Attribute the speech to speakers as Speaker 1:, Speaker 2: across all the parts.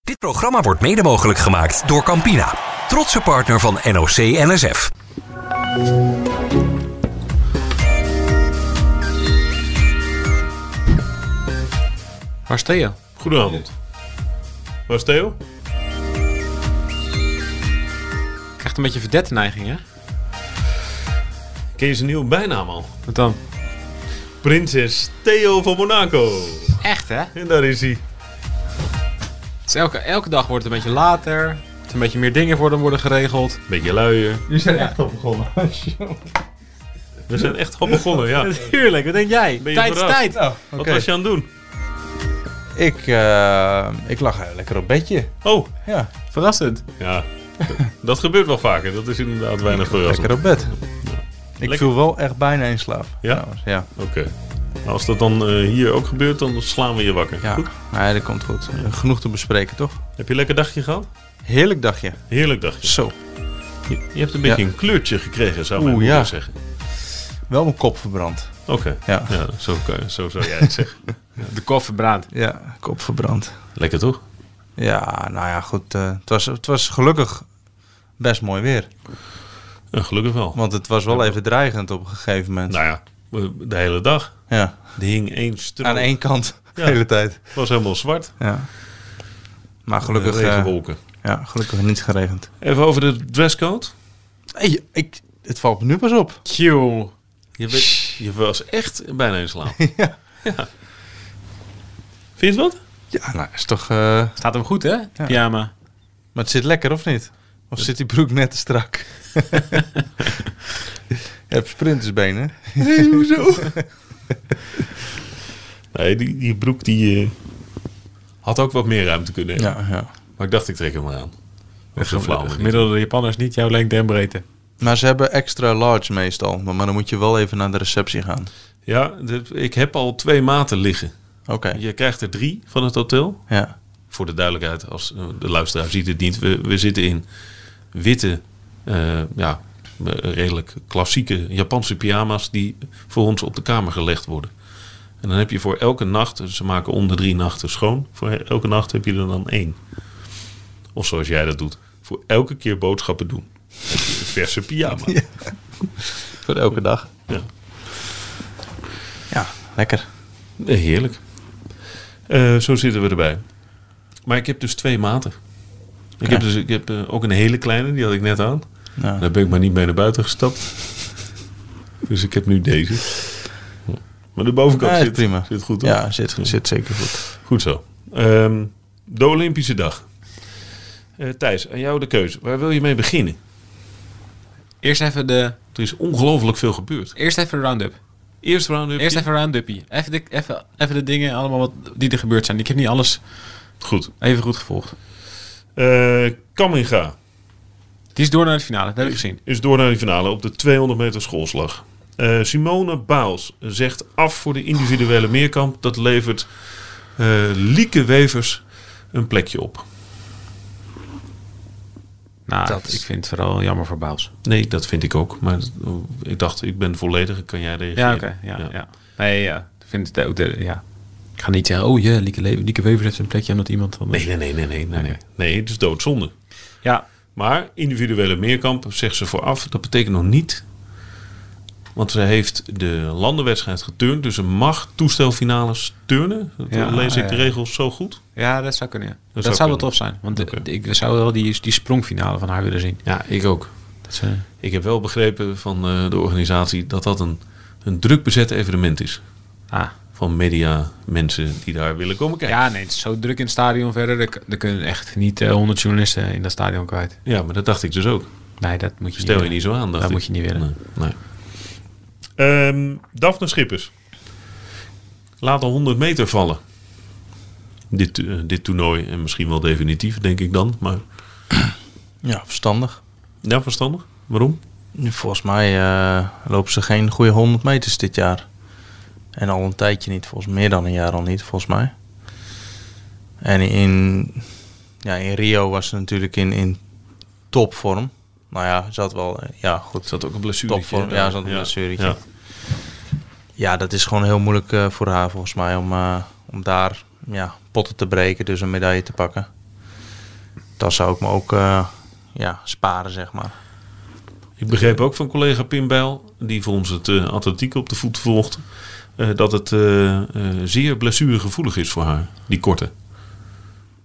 Speaker 1: Dit programma wordt mede mogelijk gemaakt door Campina. Trotse partner van NOC NSF.
Speaker 2: Waar sta je?
Speaker 3: Goedenavond. Waar is Theo?
Speaker 2: Krijgt een beetje verdette neiging, hè?
Speaker 3: Ken je zijn nieuwe bijnaam al?
Speaker 2: Wat dan?
Speaker 3: Prinses Theo van Monaco.
Speaker 2: Echt, hè?
Speaker 3: En daar is hij.
Speaker 2: Dus elke, elke dag wordt het een beetje later. Er een beetje meer dingen voor hem worden geregeld.
Speaker 3: Beetje luier.
Speaker 4: Jullie zijn echt op begonnen.
Speaker 3: We zijn echt al begonnen, ja.
Speaker 2: Natuurlijk, wat denk jij?
Speaker 3: Ben je Tijd is verrast? tijd.
Speaker 4: nou,
Speaker 3: Wat
Speaker 4: oké.
Speaker 3: was je aan het doen?
Speaker 4: Ik, eh, ik lag eh, lekker op bedje.
Speaker 3: Oh,
Speaker 4: Ja,
Speaker 2: Verrassend.
Speaker 3: ja. Dat gebeurt wel vaker. Dat is inderdaad weinig verrassend.
Speaker 4: lekker op bed. Ik
Speaker 3: Lekker.
Speaker 4: viel wel echt bijna in slaap.
Speaker 3: Ja?
Speaker 4: trouwens. Ja.
Speaker 3: Oké. Nou, Als dat dan eh, hier ook gebeurt, dan slaan we je wakker.
Speaker 4: ja.
Speaker 3: Goed.
Speaker 4: Nee, dat komt goed. Genoeg te bespreken, toch?
Speaker 3: Heb je een lekker dagje gehad?
Speaker 4: Heerlijk dagje.
Speaker 3: Heerlijk dagje.
Speaker 4: Zo.
Speaker 3: Je, je hebt een beetje
Speaker 4: Ja.
Speaker 3: een kleurtje gekregen, zou mijn
Speaker 4: Oeh,
Speaker 3: moeder
Speaker 4: ja.
Speaker 3: zeggen.
Speaker 4: Wel mijn kop verbrand.
Speaker 3: Oké.
Speaker 4: Ja.
Speaker 3: Ja, zo, kan- zo zou jij het zeggen.
Speaker 2: De koffer braadt.
Speaker 4: Ja, kop verbrand.
Speaker 3: Lekker toch?
Speaker 4: Ja, nou ja, goed. eh, het, was, het was gelukkig best mooi weer.
Speaker 3: En gelukkig wel.
Speaker 4: Want het was wel even dreigend op een gegeven moment.
Speaker 3: Nou ja, de hele dag.
Speaker 4: Ja,
Speaker 3: Er hing één strook.
Speaker 4: aan één kant de
Speaker 3: Ja.
Speaker 4: hele tijd.
Speaker 3: Het was helemaal zwart.
Speaker 4: Ja. Maar gelukkig, eh,
Speaker 3: Regenwolken.
Speaker 4: ja, gelukkig niet geregend.
Speaker 3: Even over de dresscode.
Speaker 4: Hey, ik, het valt me nu pas op.
Speaker 2: Tjoe.
Speaker 3: Je, weet- je was echt bijna in slaap. ja. Vind je het wat?
Speaker 4: Ja, nou is toch. eh,
Speaker 2: Staat hem goed, hè? Pyjama.
Speaker 4: maar het zit lekker of niet? Of zit die broek net te strak? je hebt sprintersbenen.
Speaker 3: Nee, die, die broek die eh, had ook wat meer ruimte kunnen hebben.
Speaker 4: Ja, ja.
Speaker 3: Maar ik dacht, ik trek hem maar aan. Dat is een flauw.
Speaker 2: De gemiddelde Japanners niet jouw lengte en breedte.
Speaker 4: Maar ze hebben extra large meestal. Maar, maar dan moet je wel even naar de receptie gaan.
Speaker 3: Ja, dit- ik heb al twee maten liggen.
Speaker 4: Oké.
Speaker 3: Je krijgt er drie van het hotel.
Speaker 4: Ja.
Speaker 3: Voor de duidelijkheid, als eh, de luisteraar ziet het niet. We, we zitten in witte, eh, ja, eh, redelijk klassieke Japanse pyjama's... die voor ons op de kamer gelegd worden. En dan heb je voor elke nacht, ze maken om de drie nachten schoon. Voor elke nacht heb je er dan één. Of zoals jij dat doet, voor elke keer boodschappen doen. Heb je een verse pyjama.
Speaker 4: Voor elke dag.
Speaker 3: Ja.
Speaker 4: Ja, lekker.
Speaker 3: Eh, Heerlijk. Eh, zo zitten we erbij. Maar ik heb dus twee maten. Ik heb, dus, ik heb eh, ook een hele kleine, die had ik net aan.
Speaker 4: Nou,
Speaker 3: Daar ben ik maar niet mee naar buiten gestapt. dus ik heb nu deze. Maar de bovenkant
Speaker 4: Ja, is
Speaker 3: zit,
Speaker 4: prima.
Speaker 3: zit goed. hoor.
Speaker 4: ja, zit, zit zeker goed.
Speaker 3: Goed zo. Ehm, de Olympische dag. Eh, Thijs, aan jou de keuze. Waar wil je mee beginnen?
Speaker 2: Eerst even de,
Speaker 3: Er is ongelooflijk veel gebeurd.
Speaker 2: eerst even de round-up.
Speaker 3: Eerst round-up.
Speaker 2: Eerst even een round-uppie. Even de, even, even de dingen allemaal wat, die er gebeurd zijn. Ik heb niet alles
Speaker 3: Goed.
Speaker 2: even goed gevolgd.
Speaker 3: Eh Kamminga.
Speaker 2: Die is door naar de finale. Dat heb ik gezien.
Speaker 3: is door naar die finale op de 200 meter schoolslag. Eh, Simone Baals zegt af voor de individuele meerkamp. Dat levert eh, Lieke Wevers een plekje op.
Speaker 2: Nou,
Speaker 4: Dat is-
Speaker 2: ik vind het vooral jammer voor Baals.
Speaker 3: Nee, dat vind ik ook. Maar dat- ik dacht, ik ben volledig. Kan jij reageren?
Speaker 2: Ja, oké. ja, Dus ja. Nee, ja. Ik vind het ook... De, ja. Ik ga niet zeggen, oh ja, Lieke, Le- Lieke Wever heeft een plekje omdat iemand van...
Speaker 3: Nee, nee, nee, nee, nee, nee, nee. Nee, het is doodzonde.
Speaker 2: Ja,
Speaker 3: Maar individuele meerkamp zegt ze vooraf. Dat betekent nog niet. Want ze heeft de landenwedstrijd geturnd. Dus ze mag toestelfinales turnen. Dat
Speaker 2: Ja,
Speaker 3: lees ik de
Speaker 2: ja.
Speaker 3: regels zo goed.
Speaker 2: ja dat zou kunnen. ja. Dat,
Speaker 3: zou
Speaker 2: zou,
Speaker 3: kunnen.
Speaker 2: wel tof zijn. Want de-
Speaker 3: Oké.
Speaker 2: de- ik zou wel die, die sprongfinale van haar willen zien.
Speaker 3: Ja, ik ook.
Speaker 2: Dat ze,
Speaker 3: Ik heb wel begrepen van eh, de organisatie dat dat een, een druk bezet evenement is.
Speaker 2: ah.
Speaker 3: Van media, mensen die daar willen komen kijken. Ja,
Speaker 2: Ja, nee, het is zo druk in het stadion verder. Er, k- er kunnen echt niet eh, 100 journalisten in dat stadion kwijt.
Speaker 3: maar dat dacht ik dus ook.
Speaker 2: Nee, dat moet je
Speaker 3: Stel je
Speaker 2: willen.
Speaker 3: niet zo aan. Dacht
Speaker 2: Dat
Speaker 3: ik.
Speaker 2: moet je niet willen.
Speaker 3: Nee. Ehm, Daphne Schippers. Laat de 100 meter vallen. Dit, eh, dit toernooi, en misschien wel definitief, denk ik dan. Maar
Speaker 4: Ja, verstandig.
Speaker 3: ja, verstandig. Waarom?
Speaker 4: Volgens mij eh, lopen ze geen goede 100 meters dit jaar. En al een tijdje niet, volgens meer dan een jaar al niet, volgens mij. En in, ja, in Rio was ze natuurlijk in, in topvorm. Nou ja, ze had wel, eh, ja goed.
Speaker 3: Zat ook een blessure.
Speaker 4: Topvorm, ja, ze had een blessuretje.
Speaker 3: Ja.
Speaker 4: Ja, dat is gewoon heel moeilijk eh, voor haar volgens mij om, eh, om daar ja, potten te breken, dus een medaille te pakken. Dat zou ik me ook eh, ja, sparen, zeg maar.
Speaker 3: Ik begreep ook van collega Pim Bijl, die voor ons het eh, atletiek op de voet volgt, eh, dat het eh, eh, zeer blessuregevoelig is voor haar, die korte,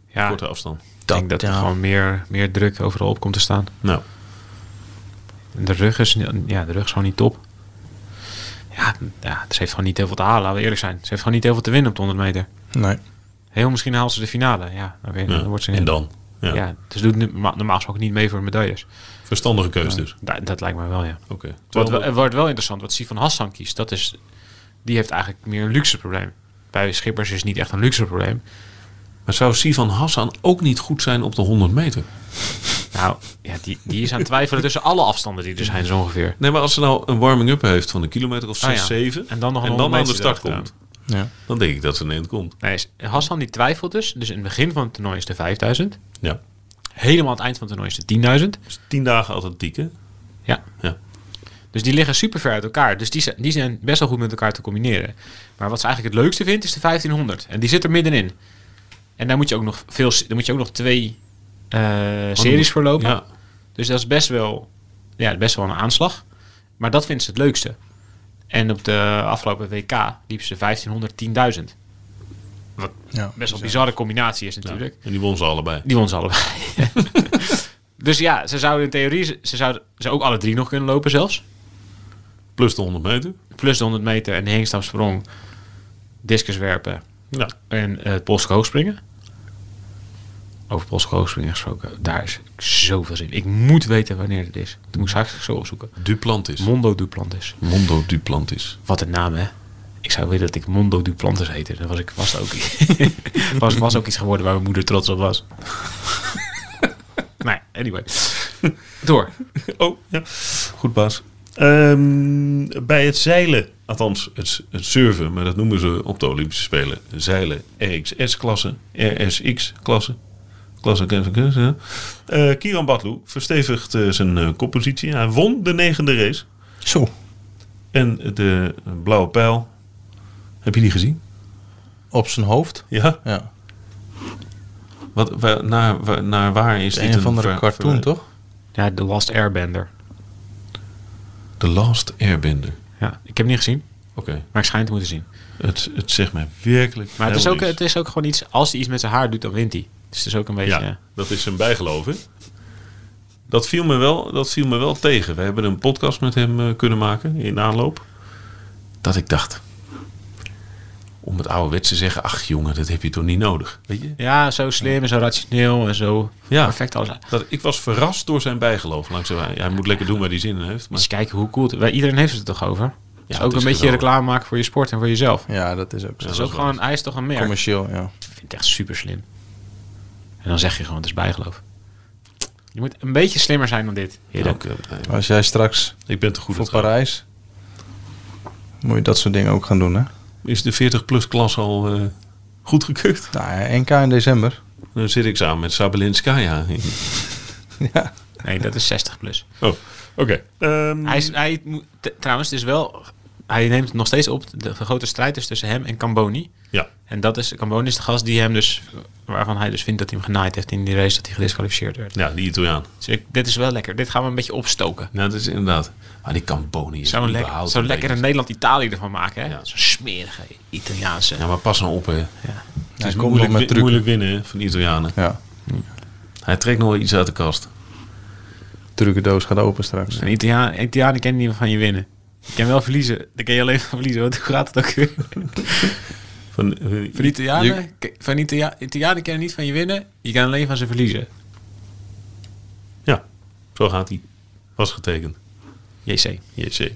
Speaker 2: Ja,
Speaker 3: korte afstand.
Speaker 2: ik denk dat er
Speaker 4: ja.
Speaker 2: gewoon meer, meer druk overal op komt te staan.
Speaker 3: Nou,
Speaker 2: En De rug is, ni- ja, de rug is gewoon niet top. Ja, ja, ze heeft gewoon niet heel veel te halen, laten we eerlijk zijn. Ze heeft gewoon niet heel veel te winnen op de 100 meter.
Speaker 4: Nee.
Speaker 2: Heel misschien haalt ze de finale. Ja, dan, weer,
Speaker 3: ja.
Speaker 2: dan wordt ze
Speaker 3: en dan? Ja.
Speaker 2: Ja. dus doet nu- normaal normaal gesproken niet mee voor de medailles.
Speaker 3: Verstandige keus dus.
Speaker 2: Da- dat lijkt me wel, ja.
Speaker 3: Oké.
Speaker 2: Wat, wel-
Speaker 3: Terwijl-
Speaker 2: het wordt wel interessant, wat Sifan Hassan kiest, dat is, die heeft eigenlijk meer een luxe probleem. Bij Schippers is het niet echt een luxe probleem.
Speaker 3: Maar zou Sivan Hassan ook niet goed zijn op de 100 meter?
Speaker 2: Nou, ja, die, die is aan het twijfelen tussen alle afstanden die er zijn, zo ongeveer.
Speaker 3: Nee, maar als ze nou een warming-up heeft van een kilometer of 6,
Speaker 2: Ah, ja.
Speaker 3: 7
Speaker 2: En dan nog een
Speaker 3: en dan
Speaker 2: 100
Speaker 3: aan de
Speaker 2: meter
Speaker 3: start
Speaker 2: erachteraan.
Speaker 3: komt,
Speaker 4: Ja.
Speaker 3: dan denk ik dat ze een eind komt.
Speaker 2: Nee, is- Hassan die twijfelt dus. Dus in het begin van het toernooi is de 5000.
Speaker 3: Ja.
Speaker 2: Helemaal aan het eind van het toernooi is de 10.000.
Speaker 3: Dus 10 dagen atletiek, hè?
Speaker 2: Ja.
Speaker 3: Ja.
Speaker 2: Dus die liggen super ver uit elkaar. Dus die, zijn- die zijn best wel goed met elkaar te combineren. Maar wat ze eigenlijk het leukste vindt is de 1500. En die zit er middenin. En daar moet je ook nog, veel, daar moet je ook nog twee eh, series voor lopen.
Speaker 3: Oh, Ja.
Speaker 2: Dus dat is best wel, ja, best wel een aanslag. Maar dat vindt ze het leukste. En op de afgelopen WK liep ze 1500, 10.000. Wat
Speaker 4: Ja.
Speaker 2: best wel een bizarre combinatie is
Speaker 3: Ja.
Speaker 2: natuurlijk.
Speaker 3: En die won ze allebei.
Speaker 2: Die won ze allebei. dus ja, ze zouden in theorie ze zouden ze ook alle drie nog kunnen lopen zelfs.
Speaker 3: Plus de 100 meter.
Speaker 2: Plus de 100 meter en de hengstafsprong, discus werpen
Speaker 3: Ja.
Speaker 2: en eh, het polske hoogspringen. Over polske hoogspringen gesproken, daar is zoveel zin in. Ik moet weten wanneer het is. Dat moet ik straks zo opzoeken.
Speaker 3: Duplantis.
Speaker 2: Mondo Duplantis.
Speaker 3: Mondo Duplantis.
Speaker 2: Wat een naam, hè? Ik zou willen dat ik Mondo Duplantis heette. Dan was ik vast ook, was, was ook iets geworden waar mijn moeder trots op was. nee, anyway. Door.
Speaker 3: Oh, ja. Goed, baas. Ehm, bij het zeilen, althans het, het surfen, maar dat noemen ze op de Olympische Spelen. Zeilen RXS-klasse, RSX-klasse. Klasse, klasse, klasse. Eh, Kiran Batlu verstevigt eh, zijn eh, koppositie. Hij won de negende race.
Speaker 4: Zo.
Speaker 3: En de blauwe pijl, heb je die gezien?
Speaker 4: Op zijn hoofd.
Speaker 3: Ja.
Speaker 4: Ja.
Speaker 3: Wat, waar- naar, waar- naar waar is
Speaker 4: Het
Speaker 3: dit
Speaker 4: een of andere
Speaker 3: ver-
Speaker 4: cartoon,
Speaker 3: ver-
Speaker 4: toch?
Speaker 2: Ja, The Last Airbender.
Speaker 3: The Last Airbender.
Speaker 2: Ja, ik heb het niet gezien,
Speaker 3: Oké,
Speaker 2: maar ik schijn het te moeten zien.
Speaker 3: het, het zegt mij werkelijk
Speaker 2: Maar het is,
Speaker 3: helemaal
Speaker 2: ook,
Speaker 3: niks.
Speaker 2: het is ook gewoon iets, als hij iets met zijn haar doet, dan wint hij. Dus het is ook een beetje...
Speaker 3: Ja,
Speaker 2: Ja,
Speaker 3: dat is zijn bijgeloof, hè? Dat viel, me wel, dat viel me wel tegen. We hebben een podcast met hem eh, kunnen maken in aanloop. Dat ik dacht, om het oude wet te zeggen... ach jongen, dat heb je toch niet nodig, weet je?
Speaker 2: ja zo slim en zo rationeel en zo
Speaker 3: Ja.
Speaker 2: perfect alles. Moet
Speaker 3: Dat, ik was verrast door zijn bijgeloof. Langs, hij, hij moet lekker doen waar hij zin in heeft. Maar
Speaker 2: je kijken hoe cool het Wij- Iedereen heeft het er toch over? Dus
Speaker 3: het
Speaker 2: ook een
Speaker 3: is
Speaker 2: beetje
Speaker 3: geweldig.
Speaker 2: reclame maken voor je sport en voor jezelf.
Speaker 4: Ja, dat is ook zo.
Speaker 2: dat is
Speaker 3: dat
Speaker 2: ook
Speaker 3: is wel
Speaker 2: gewoon, hij is toch een merk.
Speaker 4: Commercieel, ja.
Speaker 2: Ik vind het echt super slim. En dan zeg je gewoon, het is bijgeloof. Je moet een beetje slimmer zijn dan dit.
Speaker 3: Ja, ook, eh, nee,
Speaker 4: Als jij straks
Speaker 3: ik ben te goed
Speaker 4: voor
Speaker 3: voor Parijs.
Speaker 4: Parijs... moet je dat soort dingen ook gaan doen, hè?
Speaker 3: Is de 40-plus klas al eh goedgekeurd?
Speaker 4: Nou ja, NK in december.
Speaker 3: Dan zit ik samen met Sabelinskaya. in.
Speaker 4: Ja.
Speaker 2: Nee, dat is 60 plus.
Speaker 3: Oh, oké. Ehm,
Speaker 2: Hij is, hij, moet- t- trouwens, het is wel... Hij neemt nog steeds op. De, de grote strijd is tussen hem en Camboni.
Speaker 3: ja,
Speaker 2: En dat is, Camboni is de gast die hem dus... Waarvan hij dus vindt dat hij hem genaaid heeft in die race dat hij gedisqualificeerd werd.
Speaker 3: ja, die Italiaan.
Speaker 2: Dus ik- dit is wel lekker. Dit gaan we een beetje opstoken.
Speaker 3: Nou, dat is inderdaad. Maar die Camboni is
Speaker 2: Zo'n lek,
Speaker 3: überhaupt
Speaker 2: zo
Speaker 3: een
Speaker 2: lekker
Speaker 3: beetje-
Speaker 2: een Nederland-Italië ervan maken, hè?
Speaker 3: Ja.
Speaker 2: Zo'n smerige Italiaanse.
Speaker 3: Ja, maar pas nou op, hè. Het
Speaker 4: Hij
Speaker 3: is
Speaker 4: komt nog
Speaker 3: moeilijk,
Speaker 4: met
Speaker 3: wi-
Speaker 4: truc.
Speaker 3: moeilijk winnen hè, van de Italianen.
Speaker 4: Ja.
Speaker 3: Hij trekt nog wel iets uit de kast.
Speaker 4: Trucendoos gaat open straks.
Speaker 2: Een Italiaan, Italiaan ken niet van je winnen. Je kan wel verliezen. Dan kan je alleen van verliezen. Want hoe gaat het ook weer?
Speaker 3: Van, eh,
Speaker 2: Van Italianen, van Italia, Italianen kan niet van je winnen. Je kan alleen van ze verliezen.
Speaker 3: ja, zo gaat hij. Was getekend.
Speaker 2: JC.
Speaker 3: JC.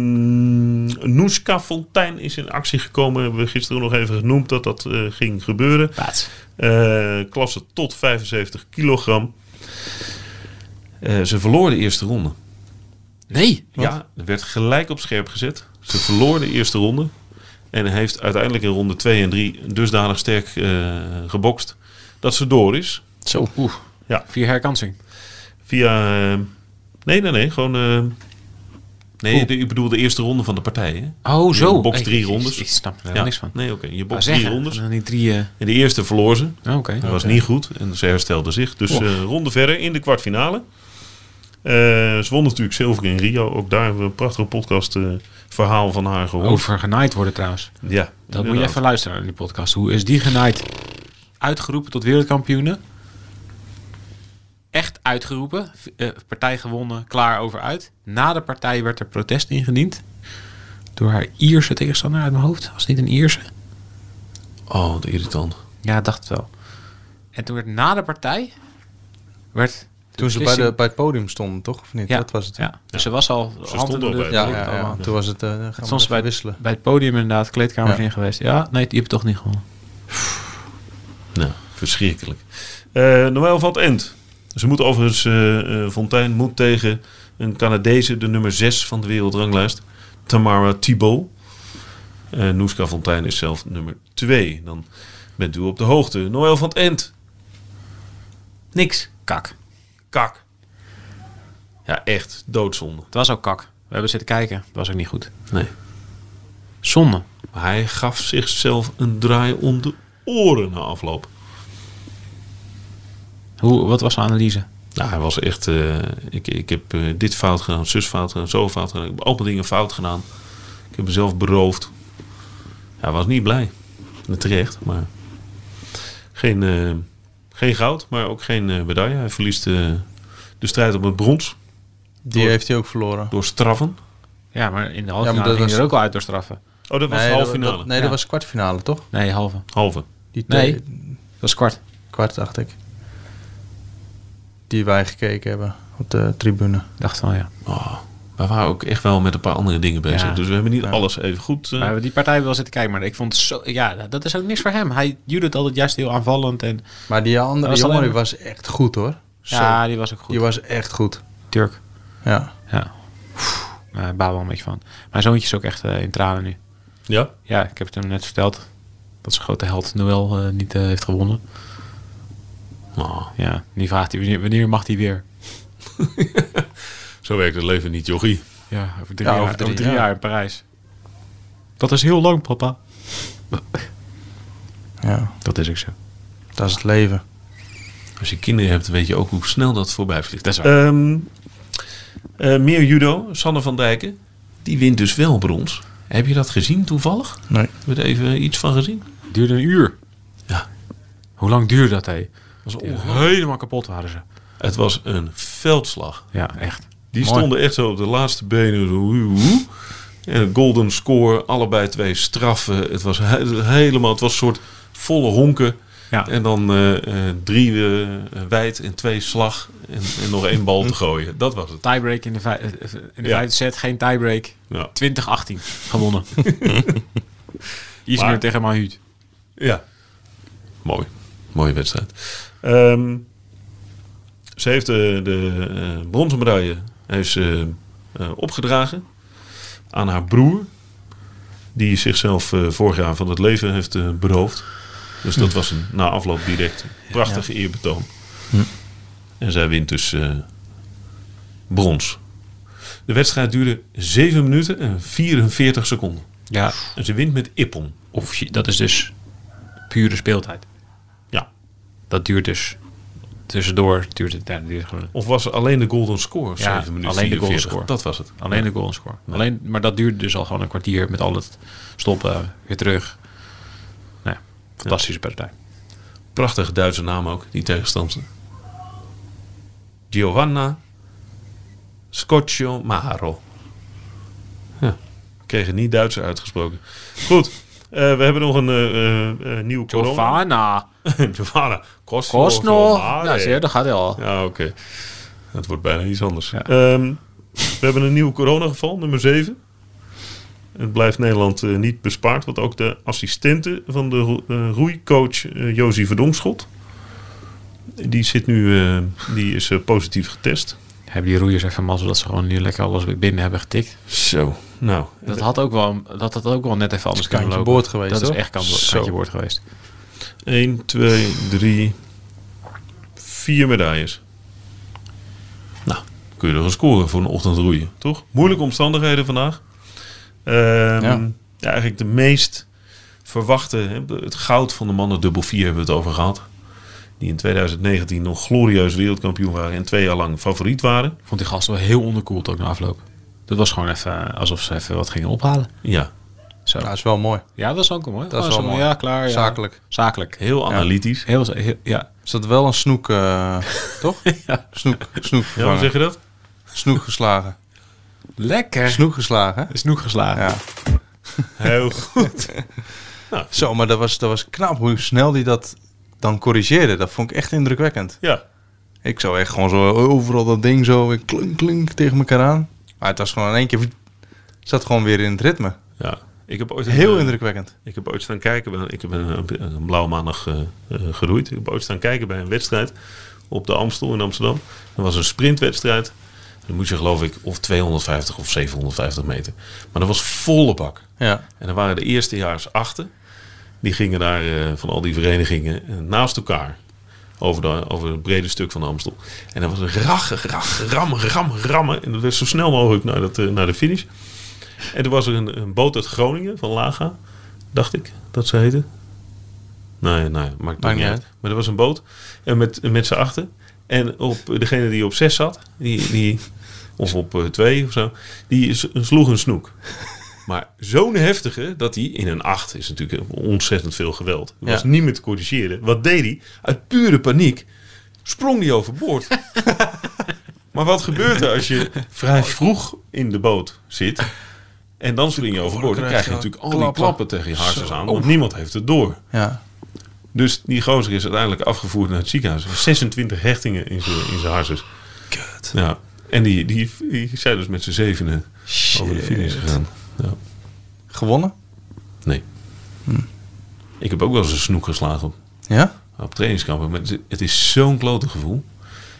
Speaker 3: Ehm Noeska Fontijn is in actie gekomen. Hebben we gisteren nog even genoemd dat dat eh, ging gebeuren.
Speaker 2: Plaats.
Speaker 3: Eh, klasse tot 75 kilogram. Eh, ze verloor de eerste ronde.
Speaker 2: Nee.
Speaker 3: Ja, er werd gelijk op scherp gezet. Ze verloor de eerste ronde. En heeft uiteindelijk in ronde 2 en 3 dusdanig sterk eh, gebokst dat ze door is.
Speaker 2: Zo. Oeh.
Speaker 3: Ja.
Speaker 2: Vier herkansing.
Speaker 3: Via. eh, nee, nee, nee. Gewoon. eh, nee,
Speaker 2: Oeh.
Speaker 3: de, ik bedoel de eerste ronde van de partij. Hè?
Speaker 2: Oh,
Speaker 3: zo. box drie
Speaker 2: Ik- ik-
Speaker 3: rondes.
Speaker 2: Ik, snap er
Speaker 3: Ja.
Speaker 2: niks van.
Speaker 3: Nee, oké. Je
Speaker 2: Maar
Speaker 3: bokt
Speaker 2: zeggen,
Speaker 3: drie rondes.
Speaker 2: dan Die drie... eh,
Speaker 3: En de eerste verloor ze.
Speaker 2: oh, Oké.
Speaker 3: Dat was niet goed. En ze herstelde zich. Dus
Speaker 2: Och.
Speaker 3: eh, ronde verder in de kwartfinale. Eh, ze won natuurlijk zilver in Rio. Ook daar hebben we een prachtige podcast eh, verhaal van haar gehoord.
Speaker 2: Over genaaid worden trouwens.
Speaker 3: Ja,
Speaker 2: Dat moet je
Speaker 3: inderdaad.
Speaker 2: even luisteren in die podcast. Hoe is die genaaid? Uitgeroepen tot wereldkampioene. Echt uitgeroepen. V- eh, partij gewonnen, klaar over uit. Na de partij werd er protest ingediend. Door haar Ierse tegenstander uit mijn hoofd. Was het niet een Ierse?
Speaker 3: Oh, wat irritant.
Speaker 2: Ja, dacht het wel. En toen werd na de partij... Werd de
Speaker 4: Toen ze bij,
Speaker 2: beslissing-
Speaker 4: de, bij het podium stonden, toch? Of niet?
Speaker 2: Ja,
Speaker 4: Dat was het.
Speaker 2: ja. Dus ze was al... hand in
Speaker 3: stond
Speaker 2: de
Speaker 3: al
Speaker 2: lucht,
Speaker 3: bij
Speaker 4: ja,
Speaker 2: weet
Speaker 3: het
Speaker 4: ja,
Speaker 2: ik
Speaker 4: ja.
Speaker 2: allemaal.
Speaker 4: Toen was het. eh, gaan we
Speaker 2: Soms
Speaker 4: even
Speaker 2: bij,
Speaker 4: wisselen.
Speaker 2: bij het podium inderdaad, kleedkamers
Speaker 4: Ja.
Speaker 2: in geweest. Ja, nee, die hebt toch niet gewonnen.
Speaker 3: Nou, verschrikkelijk. Eh Noël van het End. Ze moet overigens, eh, eh, Fontaine moet tegen een Canadese, de nummer 6 van de wereldranglijst, Tamara Thibault. Eh Noeska Fontaine is zelf nummer 2. Dan bent u op de hoogte. Noël van het End.
Speaker 2: Niks. Kak.
Speaker 3: Kak. Ja, echt. Doodzonde.
Speaker 2: Het was ook kak. We hebben zitten kijken. Het was ook niet goed.
Speaker 3: Nee.
Speaker 2: Zonde.
Speaker 3: Maar hij gaf zichzelf een draai om de oren na afloop.
Speaker 2: Hoe, wat was de analyse?
Speaker 3: Nou, hij was echt. eh, ik, ik heb eh, dit fout gedaan, zus fout gedaan, zo fout gedaan. Ik heb allemaal dingen fout gedaan. Ik heb mezelf beroofd. Hij was niet blij. En Terecht, maar. Geen, eh, geen goud, maar ook geen eh, medaille. Hij verliest eh, de strijd om het brons
Speaker 4: Die heeft hij ook verloren.
Speaker 3: door straffen.
Speaker 2: Ja, maar in de
Speaker 4: Ja,
Speaker 2: halve
Speaker 4: maar
Speaker 2: finale
Speaker 4: dat
Speaker 2: ging
Speaker 4: was-
Speaker 2: er ook al uit door straffen.
Speaker 3: Oh, dat was de halve finale.
Speaker 4: dat- nee, dat
Speaker 2: Ja.
Speaker 4: was kwartfinale, toch?
Speaker 2: Nee, halve.
Speaker 3: Halve.
Speaker 4: Die
Speaker 2: Nee.
Speaker 4: twee-
Speaker 2: Dat was kwart.
Speaker 4: Kwart, dacht ik. Die wij gekeken hebben op de tribune.
Speaker 2: Dacht wel, ja.
Speaker 3: Oh, wij waren ook echt wel met een paar andere dingen bezig.
Speaker 2: Ja.
Speaker 3: Dus we hebben niet alles even goed. eh,
Speaker 2: Maar we hebben die partij wel zitten kijken, maar ik vond het zo... Ja, dat is ook niks voor hem. Hij Judith altijd juist heel aanvallend en...
Speaker 4: Maar die andere
Speaker 2: was
Speaker 4: jongen
Speaker 2: alleen-
Speaker 4: die was echt goed, hoor. Zo.
Speaker 2: Ja, die was ook goed.
Speaker 4: Die was echt goed.
Speaker 2: Turk.
Speaker 4: Ja.
Speaker 2: Ja. Oef, Nou, ik baal wel een beetje van. Mijn zoontje is ook echt eh, in tranen nu.
Speaker 3: Ja.
Speaker 2: Ja, ik heb het hem net verteld. Dat zijn grote held Noël eh, niet eh, heeft gewonnen.
Speaker 3: Oh,
Speaker 2: Ja, nu vraagt hij wanneer, wanneer mag hij weer?
Speaker 3: zo werkt het leven niet, jochie.
Speaker 2: Ja, over drie,
Speaker 4: Ja,
Speaker 2: jaar,
Speaker 4: over drie
Speaker 2: over drie
Speaker 4: jaar.
Speaker 2: jaar in Parijs. Dat is heel lang, papa.
Speaker 4: ja,
Speaker 2: Dat is ook zo.
Speaker 4: dat is het leven.
Speaker 3: Als je kinderen hebt, weet je ook hoe snel dat voorbij vliegt.
Speaker 2: Dat is waar.
Speaker 3: Ehm, eh, meer judo, Sanne van Dijken. Die wint dus wel brons. Heb je dat gezien toevallig?
Speaker 4: Nee.
Speaker 3: Heb je er even iets van gezien?
Speaker 2: duurde een uur.
Speaker 3: Ja.
Speaker 2: Hoe lang duurde dat, hé?
Speaker 3: Was
Speaker 2: Helemaal kapot waren ze.
Speaker 3: Het was een veldslag.
Speaker 2: Ja, echt.
Speaker 3: Die
Speaker 2: Mooi.
Speaker 3: stonden echt zo op de laatste benen. zo, hoe, hoe. En een golden score, allebei twee straffen. Het was he- helemaal, het was een soort volle honken.
Speaker 2: Ja.
Speaker 3: En dan eh, eh, drie eh, wijd en twee slag. En, en nog één bal te gooien. Dat was het.
Speaker 2: Tiebreak in de, vij- eh, eh, in de
Speaker 3: Ja.
Speaker 2: vijfde set, geen tiebreak.
Speaker 3: Ja.
Speaker 2: 2018 gewonnen. Iets
Speaker 3: Maar-
Speaker 2: meer tegen Mahut.
Speaker 3: Ja. Mooi. Mooie wedstrijd. Ehm, ze heeft eh, de eh bronzen medaille heeft ze, eh, opgedragen aan haar broer. Die zichzelf eh, vorig jaar van het leven heeft eh, beroofd. Dus dat was een, na afloop direct een prachtige eerbetoon. En zij wint dus eh, brons. De wedstrijd duurde 7 minuten en 44 seconden.
Speaker 2: Ja,
Speaker 3: En ze wint met Ippon.
Speaker 2: of je- dat is dus pure speeltijd.
Speaker 3: Ja,
Speaker 2: Dat duurt dus tussendoor. Duurt het, ja, dat duurt gewoon
Speaker 3: Of was er alleen de golden score?
Speaker 2: Ja,
Speaker 3: 7 minuten
Speaker 2: alleen de golden
Speaker 3: 44?
Speaker 2: score.
Speaker 3: Dat was het.
Speaker 2: alleen de goal en score. Alleen, maar dat duurde dus al gewoon een kwartier met al het stoppen, weer terug. Nou, ja, fantastische partij.
Speaker 3: Prachtige Duitse naam ook, die tegenstander. Giovanna Scoccio Maro. Ja, kregen niet Duitser uitgesproken. Goed, eh, we hebben nog een eh, eh, eh, nieuw corona.
Speaker 2: Giovanna. Nou,
Speaker 3: Giovanna Cosno.
Speaker 2: Kostno. Ja, zie je, dat gaat hij al.
Speaker 3: Ja, oké. Het wordt bijna iets anders.
Speaker 2: Ja.
Speaker 3: Ehm, we hebben een nieuw coronageval, nummer 7. Het blijft Nederland eh, niet bespaard, want ook de assistente van de ro- eh, roeicoach eh Josie Verdonkschot. Die, zit nu, eh, die is eh, positief getest.
Speaker 2: Hebben die roeiers even mazzel dat ze gewoon nu lekker alles weer binnen hebben getikt.
Speaker 3: Zo, nou.
Speaker 2: Dat had ook wel, dat had ook wel net even anders kunnen
Speaker 4: kantje
Speaker 2: lopen.
Speaker 4: boord geweest,
Speaker 2: Dat
Speaker 4: hoor.
Speaker 2: is echt kantje
Speaker 4: Zo.
Speaker 2: kantje boord geweest.
Speaker 3: 1, 2, 3, 4 medailles. Nou, kun je er een scoren voor een ochtend roeien, toch? Moeilijke omstandigheden vandaag. Ehm, ja.
Speaker 4: Ja.
Speaker 3: eigenlijk de meest verwachte, hè, het goud van de mannen dubbel 4 hebben we het over gehad. Die in 2019 nog glorieus wereldkampioen waren en twee jaar lang favoriet waren.
Speaker 2: Ik Vond die gast wel heel onderkoeld ook na afloop. Dat was gewoon even eh, alsof ze even wat gingen ophalen.
Speaker 3: Ja,
Speaker 2: Zo.
Speaker 4: Dat is wel mooi.
Speaker 2: Ja, dat is ook mooi.
Speaker 4: Dat is wel mooi.
Speaker 2: Ja, klaar. ja.
Speaker 4: Zakelijk.
Speaker 2: Zakelijk.
Speaker 3: heel analytisch.
Speaker 2: Heel, heel- ja.
Speaker 4: Is dat wel een snoek, eh, toch? Snoek, snoek,
Speaker 3: Ja, hoe
Speaker 4: vervangen.
Speaker 3: zeg je dat?
Speaker 4: snoek geslagen.
Speaker 2: Lekker.
Speaker 4: Snoek geslagen, hè?
Speaker 2: Snoek geslagen.
Speaker 4: Ja.
Speaker 3: Heel goed.
Speaker 4: Zo, maar dat was, dat was knap hoe snel die dat dan corrigeerde. Dat vond ik echt indrukwekkend.
Speaker 3: Ja,
Speaker 4: Ik zou echt gewoon zo overal dat ding zo weer klink klink tegen elkaar aan. Maar het was gewoon in één keer... Zat gewoon weer in het ritme.
Speaker 3: ja. Ik heb ooit een,
Speaker 4: Heel
Speaker 3: eh,
Speaker 4: indrukwekkend.
Speaker 3: Ik heb ooit staan kijken, bij- ik heb een, een, een blauwe maandag eh, eh, geroeid. Ik heb ooit staan kijken bij een wedstrijd op de Amstel in Amsterdam. Dat was een sprintwedstrijd. Dan moet je geloof ik of 250 of 750 meter. Maar dat was volle bak.
Speaker 4: Ja.
Speaker 3: En dan waren de eerstejaars achter. Die gingen daar eh, van al die verenigingen eh, naast elkaar. Over, de, over het brede stuk van de Amstel. En dat was een rach, rach, ram, ram, rammen. En dat werd zo snel mogelijk naar, dat, eh, naar de finish. En er was er een, een boot uit Groningen, van Laga. Dacht ik dat ze heette. Nee, nee, maakt
Speaker 4: niet
Speaker 3: het niet uit.
Speaker 4: uit.
Speaker 3: Maar er was een boot en met, met z'n achter. En op degene die op zes zat, die, die, of op eh, twee of zo, die s- sloeg een snoek. Maar zo'n heftige dat hij in een acht is natuurlijk ontzettend veel geweld. Er was
Speaker 4: Ja.
Speaker 3: niet meer te corrigeren. Wat deed hij? Uit pure paniek sprong hij overboord. maar wat gebeurt er als je vrij vroeg in de boot zit en dan spring je overboord? Dan krijg je natuurlijk al die
Speaker 4: Klappen.
Speaker 3: klappen tegen je hartjes aan, want niemand heeft het door.
Speaker 4: Ja.
Speaker 3: Dus die gozer is uiteindelijk afgevoerd naar het ziekenhuis. 26 hechtingen in zijn in zijn hartjes. Ja. En die, die, die zijn dus met z'n zevenen over de finish gegaan. Ja.
Speaker 4: Gewonnen?
Speaker 3: Nee. Ik heb ook wel eens een snoek geslagen op,
Speaker 4: Ja?
Speaker 3: op trainingskampen. Maar het- het is zo'n klote gevoel.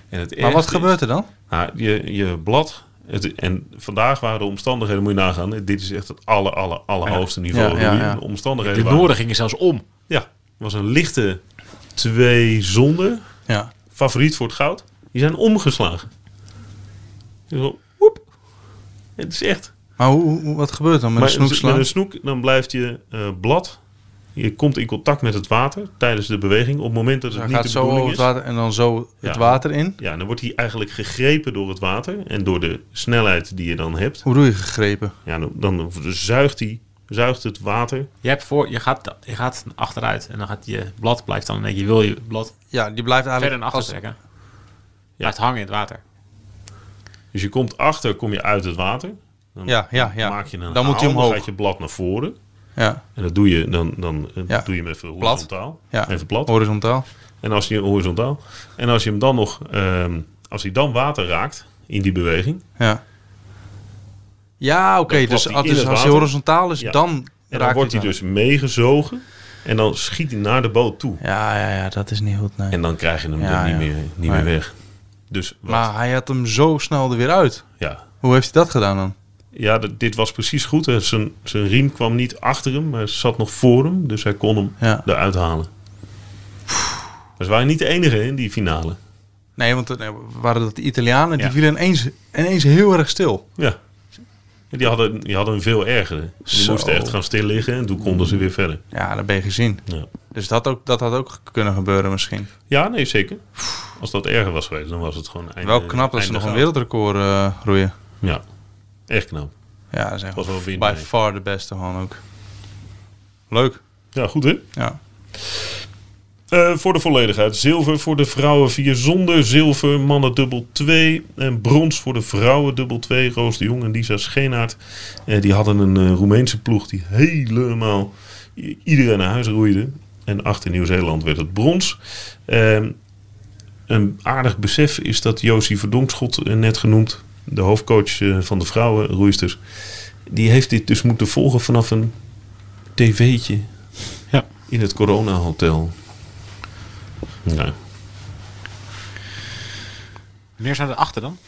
Speaker 3: En het
Speaker 4: Maar wat
Speaker 3: ergste is-
Speaker 4: gebeurt er dan?
Speaker 3: nou, je, je blad. Het, en vandaag waren de omstandigheden, moet je nagaan. hè, Dit is echt het aller, aller, allerhoogste niveau.
Speaker 4: Ja, ja, ja.
Speaker 3: De omstandigheden
Speaker 2: De
Speaker 3: waren...
Speaker 2: noorden gingen zelfs om.
Speaker 3: Ja, was een lichte twee zonde.
Speaker 4: Ja.
Speaker 3: favoriet voor het goud, die zijn omgeslagen. Zo, woep. Het is echt.
Speaker 4: Maar hoe, hoe- wat gebeurt er dan met
Speaker 3: Maar dus
Speaker 4: een snoek slaan?
Speaker 3: Met een snoek, dan blijft je eh, blad. Je komt in contact met het water tijdens de beweging. Op het moment dat
Speaker 4: Dus
Speaker 3: het
Speaker 4: hij
Speaker 3: niet de
Speaker 4: gaat zo
Speaker 3: bedoeling
Speaker 4: over
Speaker 3: is.
Speaker 4: het water en dan zo het
Speaker 3: Ja.
Speaker 4: water in.
Speaker 3: Ja, dan wordt hij eigenlijk gegrepen door het water. En door de snelheid die je dan hebt.
Speaker 4: Hoe doe je gegrepen?
Speaker 3: Ja, dan, dan zuigt, hij, zuigt het water.
Speaker 2: Je, hebt voor, je, gaat, je gaat achteruit en dan gaat je blad blijft dan in één keer. Je wil je blad
Speaker 4: Ja, die blijft
Speaker 2: verder
Speaker 4: eigenlijk...
Speaker 2: naar achter trekken. Blijft hangen in het water.
Speaker 3: Dus je komt achter, kom je uit het water. Dan
Speaker 4: Ja, ja, ja.
Speaker 3: maak je een
Speaker 4: Dan moet hij
Speaker 3: haal,
Speaker 4: omhoog.
Speaker 3: Dan gaat je blad naar voren.
Speaker 4: Ja,
Speaker 3: En dat doe je, dan, dan eh,
Speaker 4: Ja.
Speaker 3: doe je hem even
Speaker 4: Plat.
Speaker 3: horizontaal.
Speaker 4: ja.
Speaker 3: Even plat.
Speaker 4: Horizontaal.
Speaker 3: En als je horizontaal. En als je hem dan nog. ehm, als hij dan water raakt in die beweging.
Speaker 4: Ja. Ja, oké.
Speaker 3: Dan
Speaker 4: Dus,
Speaker 3: klapt hij
Speaker 4: als-
Speaker 3: in het
Speaker 4: als hij
Speaker 3: water.
Speaker 4: horizontaal is,
Speaker 3: Ja.
Speaker 4: dan
Speaker 3: En dan
Speaker 4: raakt
Speaker 3: wordt hij
Speaker 4: het
Speaker 3: dus meegezogen. En dan schiet hij naar de boot toe.
Speaker 4: wel. Ja, ja, ja. Dat is niet goed, nee.
Speaker 3: En dan krijg je hem
Speaker 4: Ja,
Speaker 3: er niet,
Speaker 4: ja.
Speaker 3: meer, niet
Speaker 4: Nee.
Speaker 3: meer weg. Dus wat?
Speaker 4: maar hij had hem zo snel er weer uit.
Speaker 3: Ja,
Speaker 4: Hoe heeft hij dat gedaan dan?
Speaker 3: ja d- dit was precies goed. hè. Zijn, zijn riem kwam niet achter hem, maar zat nog voor hem. Dus hij kon hem
Speaker 4: Ja.
Speaker 3: eruit halen. Maar ze waren niet de enige hè, in die finale.
Speaker 4: Nee, want nee, waren dat de Italianen? Die
Speaker 3: Ja.
Speaker 4: vielen ineens, ineens heel erg stil.
Speaker 3: Ja. En Die hadden, die hadden een veel ergere. Die
Speaker 4: Zo.
Speaker 3: moesten echt gaan stil liggen en toen konden ze weer verder.
Speaker 4: Ja, dat ben je gezien.
Speaker 3: Ja.
Speaker 4: Dus dat, ook, dat had ook kunnen gebeuren misschien.
Speaker 3: Ja, nee, zeker. Als dat erger was geweest, dan was het gewoon einde,
Speaker 4: Wel knap dat ze
Speaker 3: einde
Speaker 4: nog een
Speaker 3: goud.
Speaker 4: wereldrecord eh, roeien.
Speaker 3: Ja, echt knap.
Speaker 4: Ja, dat is echt
Speaker 3: Was wel win,
Speaker 4: by
Speaker 3: nee.
Speaker 4: far de beste gewoon ook. Leuk.
Speaker 3: Ja, goed hè?
Speaker 4: Ja.
Speaker 3: Eh, voor de volledigheid. Zilver voor de vrouwen vier zonder. Zilver, mannen dubbel 2. En brons voor de vrouwen dubbel 2. Roos de Jong en Lisa Scheenaert. Eh, die hadden een eh, Roemeense ploeg die helemaal i- iedereen naar huis roeide. En achter Nieuw-Zeeland werd het brons. Ehm, een aardig besef is dat Josie Verdonkschot, eh, net genoemd, de hoofdcoach eh, van de vrouwenroeisters, die heeft dit dus moeten volgen vanaf een tv'tje
Speaker 2: Ja.
Speaker 3: in het Corona Hotel. Nou,
Speaker 2: Wanneer zijn we achter dan?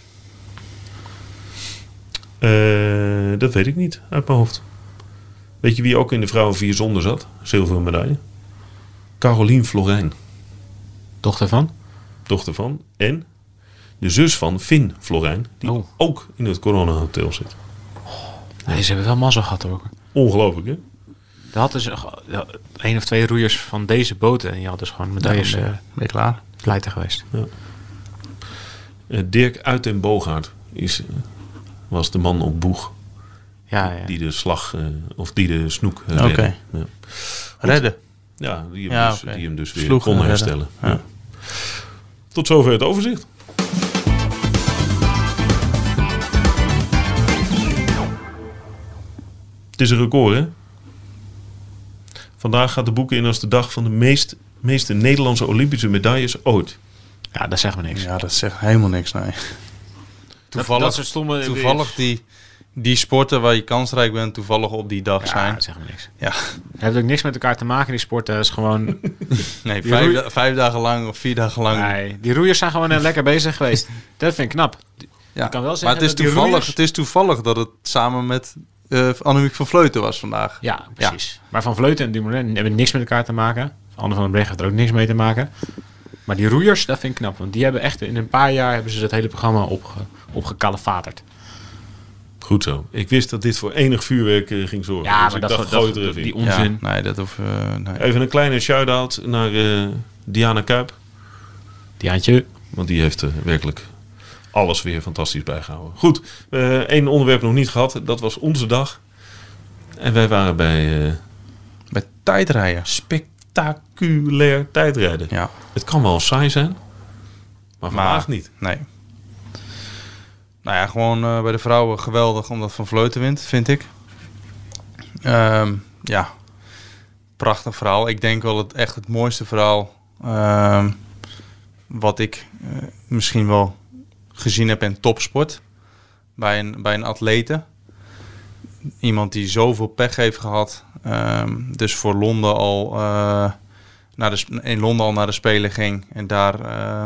Speaker 3: Eh, dat weet ik niet uit mijn hoofd. Weet je wie ook in de vrouwen vier zonder zat? Zilveren medaille. Caroline Florijn,
Speaker 2: Dochter van?
Speaker 3: dochter van. En de zus van Finn Florijn, die
Speaker 2: Oh.
Speaker 3: ook in het Corona Hotel zit.
Speaker 2: Nee, ze hebben wel mazzel gehad hoor.
Speaker 3: Ongelooflijk, hè?
Speaker 2: Er had dus één of twee roeiers van deze boten. En je had dus gewoon medailles
Speaker 4: ben,
Speaker 2: eh,
Speaker 4: ben je klaar.
Speaker 2: pleiten geweest.
Speaker 3: Eh, Dirk Uit en Bogaert is, eh, was de man op boeg
Speaker 2: Ja, ja.
Speaker 3: die de slag, eh, of die de snoek eh,
Speaker 4: Oké.
Speaker 3: redde. Ja.
Speaker 4: Redden.
Speaker 3: Ja, die hem,
Speaker 4: Ja,
Speaker 3: dus,
Speaker 4: oké.
Speaker 3: die hem dus weer
Speaker 4: Sloeg
Speaker 3: kon
Speaker 4: en redden.
Speaker 3: herstellen.
Speaker 4: Ja.
Speaker 3: Ja. Tot zover het overzicht. Het is een record, hè? Vandaag gaat de boeken in als de dag van de meest, meeste Nederlandse Olympische medailles ooit.
Speaker 2: ja, dat zeggen we niks.
Speaker 4: Ja, dat zegt helemaal niks, nee.
Speaker 2: dat, dat soort stomme...
Speaker 4: Toevallig die, die sporten waar je kansrijk bent, toevallig op die dag
Speaker 2: Ja,
Speaker 4: zijn.
Speaker 2: dat zeggen we niks.
Speaker 4: Ja.
Speaker 2: Dat heeft ook niks met elkaar te maken, die sporten. Dat is gewoon...
Speaker 4: Nee,
Speaker 2: Die
Speaker 4: vijf,
Speaker 2: roei-
Speaker 4: da- vijf dagen lang of vier dagen lang.
Speaker 2: Nee, die roeiers zijn gewoon eh, lekker bezig geweest. Dat vind ik knap.
Speaker 4: ja.
Speaker 2: kan wel
Speaker 4: maar
Speaker 2: zeggen
Speaker 4: het is,
Speaker 2: dat die
Speaker 4: toevallig,
Speaker 2: roeiers-
Speaker 4: het is toevallig dat het samen met eh Annemiek van Vleuten was vandaag.
Speaker 2: Ja, precies. Maar Van Vleuten en Dumoulin hebben niks met elkaar te maken. Anne van den Breggen heeft er ook niks mee te maken. Maar die roeiers, dat vind ik knap. Want die hebben echt in een paar jaar hebben ze dat hele programma opge, opgekalefaterd.
Speaker 3: Goed zo. Ik wist dat dit voor enig vuurwerk eh, ging zorgen.
Speaker 2: Ja,
Speaker 3: dus
Speaker 2: maar
Speaker 3: ik
Speaker 2: dat,
Speaker 3: dacht,
Speaker 2: dat,
Speaker 3: gooi het
Speaker 2: dat-
Speaker 3: er even in.
Speaker 2: die
Speaker 4: Ja,
Speaker 2: onzin.
Speaker 4: nee, dat hoef eh, nee.
Speaker 3: Even een kleine shout-out naar eh, Diana Kuip.
Speaker 2: Die handje.
Speaker 3: Want die heeft eh, werkelijk alles weer fantastisch bijgehouden. Goed, eh, één onderwerp nog niet gehad. Dat was onze dag. En wij waren bij eh
Speaker 4: Bij tijdrijden.
Speaker 3: spectaculair tijdrijden.
Speaker 4: Ja,
Speaker 3: Het kan wel saai zijn, maar vandaag niet.
Speaker 4: nee. Nou ja, gewoon eh, bij de vrouwen geweldig omdat Van Vleuten wint, vind ik. Ehm, ja, prachtig verhaal. Ik denk wel het echt het mooiste verhaal ehm, wat ik eh, misschien wel gezien heb in topsport. Bij een, bij een atlete. Iemand die zoveel pech heeft gehad. ehm, dus voor Londen al, eh, naar de, sp- in Londen al naar de Spelen ging. En daar eh,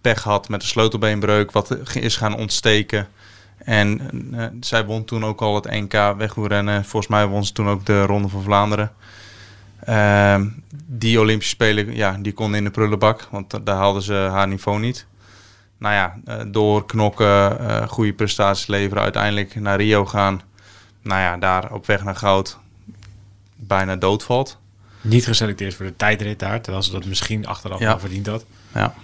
Speaker 4: pech had met een sleutelbeenbreuk. Wat ge- is gaan ontsteken. En eh, zij won toen ook al het NK wegwielrennen. Volgens mij won ze toen ook de Ronde van Vlaanderen. Ehm, die Olympische Spelen, ja, die konden in de prullenbak. Want da- daar haalden ze haar niveau niet. Nou ja, eh, door knokken, eh, goede prestaties leveren. Uiteindelijk naar Rio gaan. Nou ja, daar op weg naar goud bijna doodvalt.
Speaker 2: Niet geselecteerd voor de tijdrit daar. Terwijl ze dat misschien achteraf
Speaker 4: Ja.
Speaker 2: wel verdiend had.
Speaker 4: Ja.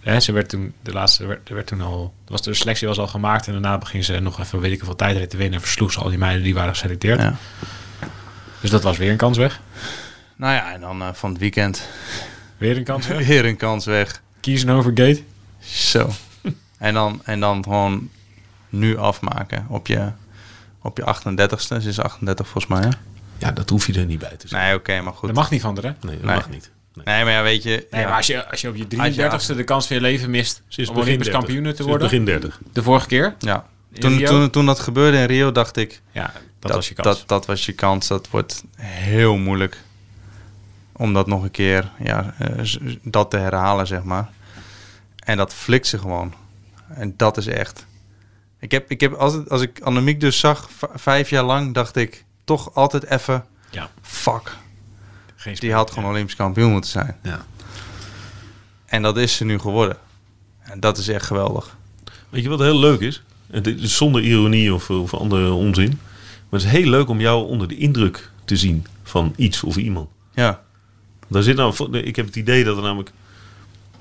Speaker 2: Hè, ze werd toen, de laatste werd, er werd toen al, er was de selectie was al gemaakt en daarna begin ze nog even weet ik hoeveel tijdrit te winnen en versloeg ze al die meiden die waren geselecteerd.
Speaker 4: Ja.
Speaker 2: Dus dat was weer een kans weg.
Speaker 4: Nou ja, en dan eh, van het weekend
Speaker 2: Weer een kans weg.
Speaker 4: weer een kans weg.
Speaker 2: Kiezen over Gate.
Speaker 4: Zo. en, dan, en dan gewoon nu afmaken op je, op je 38ste. Ze is 38 volgens mij, hè?
Speaker 3: Ja, dat hoef je er niet bij te zijn.
Speaker 4: Nee, oké, maar goed.
Speaker 2: Dat mag niet van haar, hè?
Speaker 3: Nee, dat
Speaker 4: Nee.
Speaker 3: mag niet. Nee.
Speaker 4: Nee, maar ja, weet je...
Speaker 2: Nee,
Speaker 4: ja.
Speaker 2: maar als je, als je op je
Speaker 4: Als
Speaker 2: 33ste de kans van je leven mist
Speaker 3: Sinds
Speaker 2: om
Speaker 3: begin
Speaker 2: Olympisch
Speaker 3: 30.
Speaker 2: kampioen te
Speaker 3: Sinds
Speaker 2: worden,
Speaker 3: begin 30.
Speaker 2: de vorige keer,
Speaker 4: Ja.
Speaker 2: In
Speaker 4: Toen,
Speaker 2: Rio?
Speaker 4: toen, toen dat gebeurde in Rio dacht ik...
Speaker 2: ja, dat, was je kans.
Speaker 4: Dat, dat was je kans. Dat wordt heel moeilijk om dat nog een keer ja, eh, z- z- dat te herhalen, zeg maar. En dat flikt ze gewoon. En dat is echt. Ik heb, ik heb altijd, als ik Annemiek dus zag, v- vijf jaar lang, dacht ik toch altijd even:
Speaker 2: Ja.
Speaker 4: fuck,
Speaker 2: Geen
Speaker 4: die had gewoon Olympisch kampioen moeten zijn.
Speaker 3: Ja.
Speaker 4: En dat is ze nu geworden. En dat is echt geweldig.
Speaker 3: Weet je wat heel leuk is? En dit is zonder ironie of, of andere onzin. Maar het is heel leuk om jou onder de indruk te zien van iets of iemand.
Speaker 4: Ja,
Speaker 3: Daar zit nou, vo- ik heb het idee dat er namelijk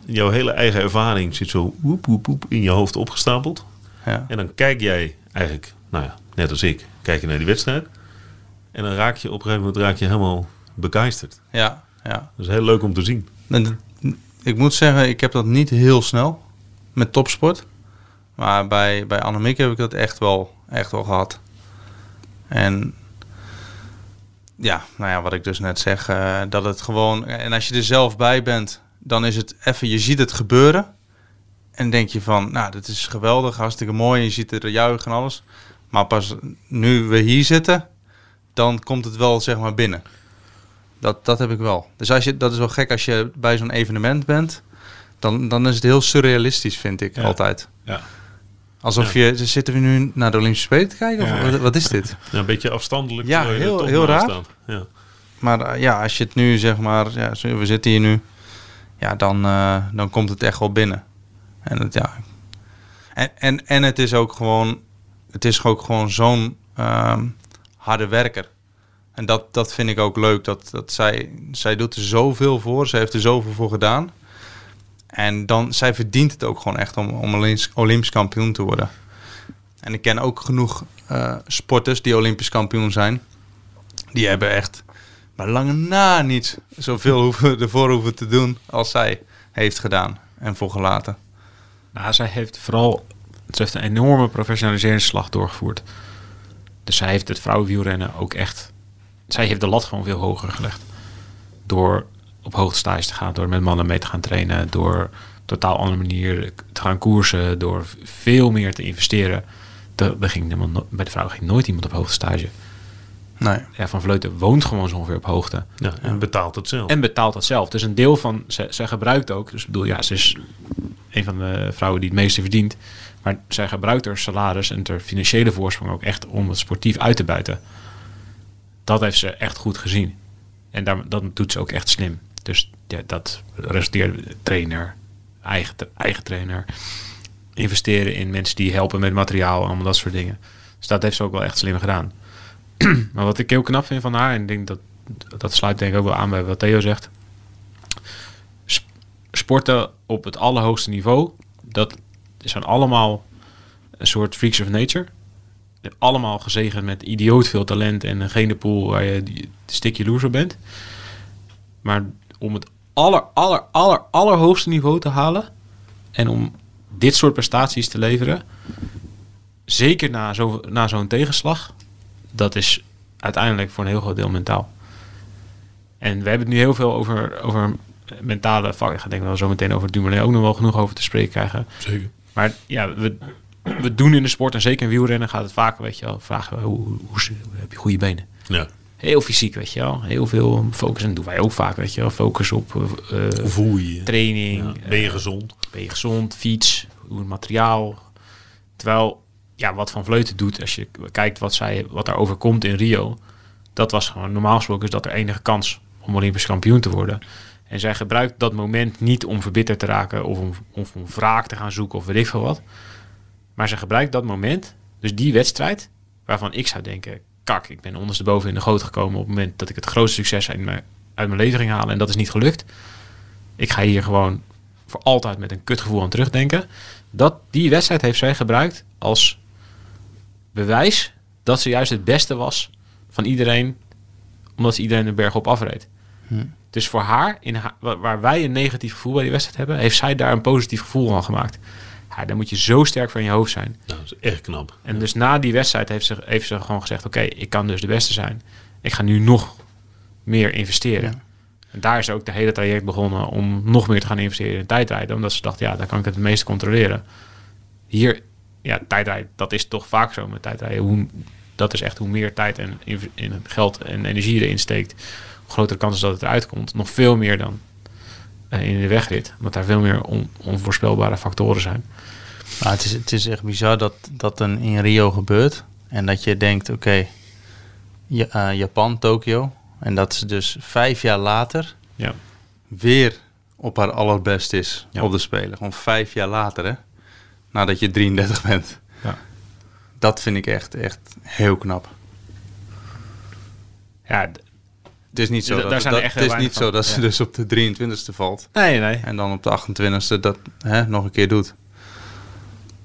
Speaker 3: jouw hele eigen ervaring zit zo woep, woep, woep in je hoofd opgestapeld.
Speaker 4: ja.
Speaker 3: En dan kijk jij eigenlijk, nou ja, net als ik, kijk je naar die wedstrijd. En dan raak je op een gegeven moment raak je helemaal begeisterd.
Speaker 4: ja, ja.
Speaker 3: Dat is heel leuk om te zien.
Speaker 4: Nou, dat- Ik moet zeggen, ik heb dat niet heel snel met topsport. Maar bij, bij Annemiek heb ik dat echt wel, echt wel gehad. En ja, nou ja, wat ik dus net zeg, eh, dat het gewoon... En als je er zelf bij bent, dan is het even, je ziet het gebeuren. En denk je van, nou, dit is geweldig, hartstikke mooi. Je ziet er juichen en alles. Maar pas nu we hier zitten, dan komt het wel, zeg maar, binnen. Dat, dat heb ik wel. Dus als je, dat is wel gek als je bij zo'n evenement bent. Dan, dan is het heel surrealistisch, vind ik,
Speaker 2: Ja.
Speaker 4: altijd.
Speaker 2: Ja.
Speaker 4: Alsof je... Zitten we nu naar de Olympische Spelen te kijken? Of wat, wat is dit?
Speaker 3: Ja, een beetje afstandelijk.
Speaker 4: Ja,
Speaker 3: terwijl je er
Speaker 4: heel-
Speaker 3: toch
Speaker 4: heel
Speaker 3: naast
Speaker 4: raar.
Speaker 3: staat. Ja.
Speaker 4: Maar eh, ja, als je het nu zeg maar, ja, zo- we zitten hier nu, ja, dan, eh, dan komt het echt wel binnen. En, het, ja. en, en, en het is ook gewoon, het is ook gewoon zo'n ehm, harde werker. En dat, dat vind ik ook leuk, dat, dat zij, zij doet er zoveel voor, zij heeft er zoveel voor gedaan. En dan, zij verdient het ook gewoon echt om, om Olympisch, Olympisch kampioen te worden. En ik ken ook genoeg eh, sporters die Olympisch kampioen zijn. Die hebben echt maar lange na niet zoveel hoeven, ervoor hoeven te doen als zij heeft gedaan en voorgelaten.
Speaker 2: Nou, zij heeft vooral het heeft een enorme professionaliseringsslag doorgevoerd. Dus zij heeft het vrouwenwielrennen ook echt... Zij heeft de lat gewoon veel hoger gelegd. Door op hoogstages te gaan, door met mannen mee te gaan trainen... door op totaal andere manier te gaan koersen, door veel meer te investeren. Er- er ging niemand, no- bij de vrouw ging nooit iemand op hoogtestage.
Speaker 4: Nee.
Speaker 2: Ja, van Vleuten woont gewoon zo ongeveer op hoogte.
Speaker 3: Ja, en betaalt het zelf.
Speaker 2: En betaalt dat zelf. Dus een deel van, ze, ze gebruikt ook, dus ik bedoel, ja, ze is een van de vrouwen die het meeste verdient. Maar zij gebruikt haar salaris en haar financiële voorsprong ook echt om het sportief uit te buiten. Dat heeft ze echt goed gezien. En daar, dat doet ze ook echt slim. Dus ja, dat resulteert trainer, eigen, eigen trainer. Investeren in mensen die helpen met materiaal, allemaal dat soort dingen. Dus dat heeft ze ook wel echt slim gedaan. Maar wat ik heel knap vind van haar, en ik denk dat dat sluit denk ik ook wel aan bij wat Theo zegt. Sp- Sporten op het allerhoogste niveau, dat zijn allemaal een soort freaks of nature. Allemaal gezegend met idioot veel talent en een genepool waar je die- stikje loser bent. Maar om het aller, aller, aller, allerhoogste niveau te halen en om dit soort prestaties te leveren, zeker na zo'n na zo'n tegenslag, dat is uiteindelijk voor een heel groot deel mentaal. En we hebben het nu heel veel over, over mentale vakken. Ik denk dat we zo meteen over Dumoulin ook nog wel genoeg over te spreken krijgen.
Speaker 3: Zeker.
Speaker 2: Maar ja, we, we doen in de sport en zeker in wielrennen gaat het vaak, weet je wel, vragen we hoe, hoe, hoe heb je goede benen?
Speaker 3: Ja.
Speaker 2: Heel fysiek, weet je wel. Heel veel focus. En dat doen wij ook vaak, weet je wel. Focus op eh, eh,
Speaker 3: Hoe voel je je?
Speaker 2: training.
Speaker 3: Ja.
Speaker 2: eh,
Speaker 3: Ben je gezond?
Speaker 2: ben je gezond? Fiets? Hoe het materiaal? Terwijl, ja, wat Van Vleuten doet, als je kijkt wat, zij, wat er overkomt in Rio, dat was gewoon normaal gesproken is dat de enige kans om Olympisch kampioen te worden. En zij gebruikt dat moment niet om verbitterd te raken of om, of om wraak te gaan zoeken of weet ik veel wat. Maar ze gebruikt dat moment, dus die wedstrijd, waarvan ik zou denken, kak, ik ben ondersteboven in de goot gekomen op het moment dat ik het grootste succes uit mijn, uit mijn leven ging halen en dat is niet gelukt. Ik ga hier gewoon voor altijd met een kutgevoel aan terugdenken. Dat, die wedstrijd heeft zij gebruikt als bewijs dat ze juist het beste was van iedereen, omdat ze iedereen de berg op afreed. Dus voor haar, in haar, wa- waar wij een negatief gevoel bij die wedstrijd hebben, heeft zij daar een positief gevoel van gemaakt. Ja, daar moet je zo sterk voor in je hoofd zijn.
Speaker 3: Nou, dat is echt knap.
Speaker 2: En dus na die wedstrijd heeft ze, heeft ze gewoon gezegd: Oké, ik kan dus de beste zijn. Ik ga nu nog meer investeren. En daar is ook de hele traject begonnen om nog meer te gaan investeren in tijdrijden. Omdat ze dacht: Ja, daar kan ik het meest controleren. Hier, ja, tijdrijden, dat is toch vaak zo met tijdrijden. Hoe, dat is echt hoe meer tijd en inv- in geld en energie je erin steekt, hoe grotere kans is dat het eruit komt. Nog veel meer dan eh, in de wegrit, omdat daar veel meer on- onvoorspelbare factoren zijn.
Speaker 4: Maar het is, het is echt bizar dat dat dan in Rio gebeurt. En dat je denkt, oké, Ja- eh, Japan, Tokio. En dat ze dus vijf jaar later
Speaker 2: Ja.
Speaker 4: weer op haar allerbest is
Speaker 2: Ja.
Speaker 4: op de Spelen. Gewoon vijf jaar later, hè. Nadat je 33 bent.
Speaker 2: Ja.
Speaker 4: Dat vind ik echt, echt heel knap.
Speaker 2: Ja, d-
Speaker 4: Het is niet zo
Speaker 2: Da-
Speaker 4: dat,
Speaker 2: daar zijn er
Speaker 4: dat,
Speaker 2: echt
Speaker 4: het is
Speaker 2: heel
Speaker 4: niet
Speaker 2: weinig
Speaker 4: zo
Speaker 2: van.
Speaker 4: dat ze
Speaker 2: Ja.
Speaker 4: dus op de 23 e valt.
Speaker 2: nee, nee.
Speaker 4: En dan op de 28e dat hè, nog een keer doet.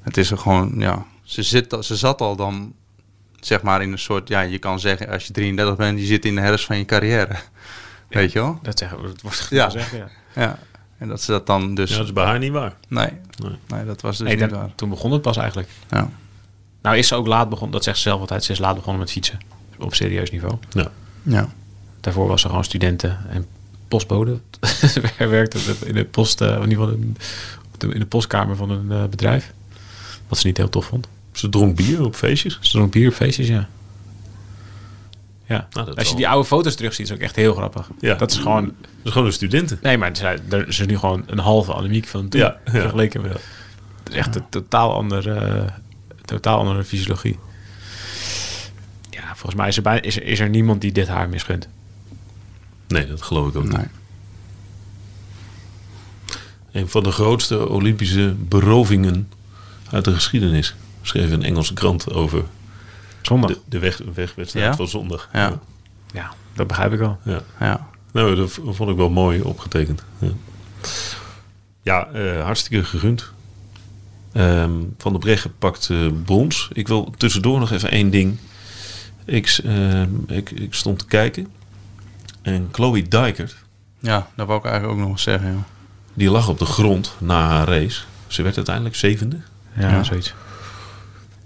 Speaker 4: Het is er gewoon, ja. Ze, zit, al- ze zat al dan, zeg maar, in een soort. Ja, je kan zeggen, als je 33 bent, je zit in de herfst van je carrière. Weet je wel?
Speaker 2: Dat zeggen we, dat wordt
Speaker 4: Ja.
Speaker 2: gezegd, ja.
Speaker 4: Ja. En dat ze dat dan dus.
Speaker 3: Ja, dat is bij haar niet waar.
Speaker 4: nee,
Speaker 3: Nee.
Speaker 4: nee. dat was dus
Speaker 2: Nee,
Speaker 4: niet
Speaker 2: dan-
Speaker 4: waar.
Speaker 2: toen begon het pas eigenlijk.
Speaker 4: Ja.
Speaker 2: Nou is ze ook laat begonnen, dat zegt ze zelf altijd, ze is laat begonnen met fietsen. Op serieus niveau.
Speaker 3: Ja.
Speaker 4: ja.
Speaker 2: Daarvoor was ze gewoon studenten en postbode. ze werkte op de- in de, post, eh, in, ieder geval in, op de- in de postkamer van een eh, bedrijf. Wat ze niet heel tof vond.
Speaker 3: Ze dronk bier op feestjes.
Speaker 2: Ze dronk bier op feestjes, ja. Ja,
Speaker 3: Nou, dat
Speaker 2: als je
Speaker 3: wel.
Speaker 2: die oude foto's terugziet, is ook echt heel grappig.
Speaker 3: Ja.
Speaker 2: Dat is gewoon
Speaker 3: Dat is gewoon een studenten.
Speaker 2: Nee, maar ze, er is nu gewoon een halve anemiek van toen
Speaker 3: Ja, ja.
Speaker 2: vergeleken met. Het is echt een totaal ander eh, totaal andere fysiologie. Ja, volgens mij is er, bij, is, er- is er niemand die dit haar misgunt.
Speaker 3: Nee, dat geloof ik ook niet.
Speaker 5: Nee.
Speaker 3: Een van de grootste Olympische berovingen uit de geschiedenis. Schreef een Engelse krant over
Speaker 2: Zondag.
Speaker 3: de, de weg, wegwedstrijd
Speaker 4: Ja?
Speaker 3: van zondag.
Speaker 4: Ja.
Speaker 2: Ja, dat begrijp ik wel.
Speaker 4: Ja.
Speaker 3: Nou, dat v- vond ik wel mooi opgetekend. Ja, ja eh, hartstikke gegund. Ehm, van de Breggen pakt eh, brons. Ik wil tussendoor nog even één ding. Ik, s- ehm, ik, ik stond te kijken. En Chloe Dijkert,
Speaker 4: ja, dat wou ik eigenlijk ook nog eens zeggen. joh.
Speaker 3: die lag op de grond na haar race. Ze werd uiteindelijk zevende.
Speaker 2: Ja,
Speaker 4: Ja.
Speaker 2: zoiets.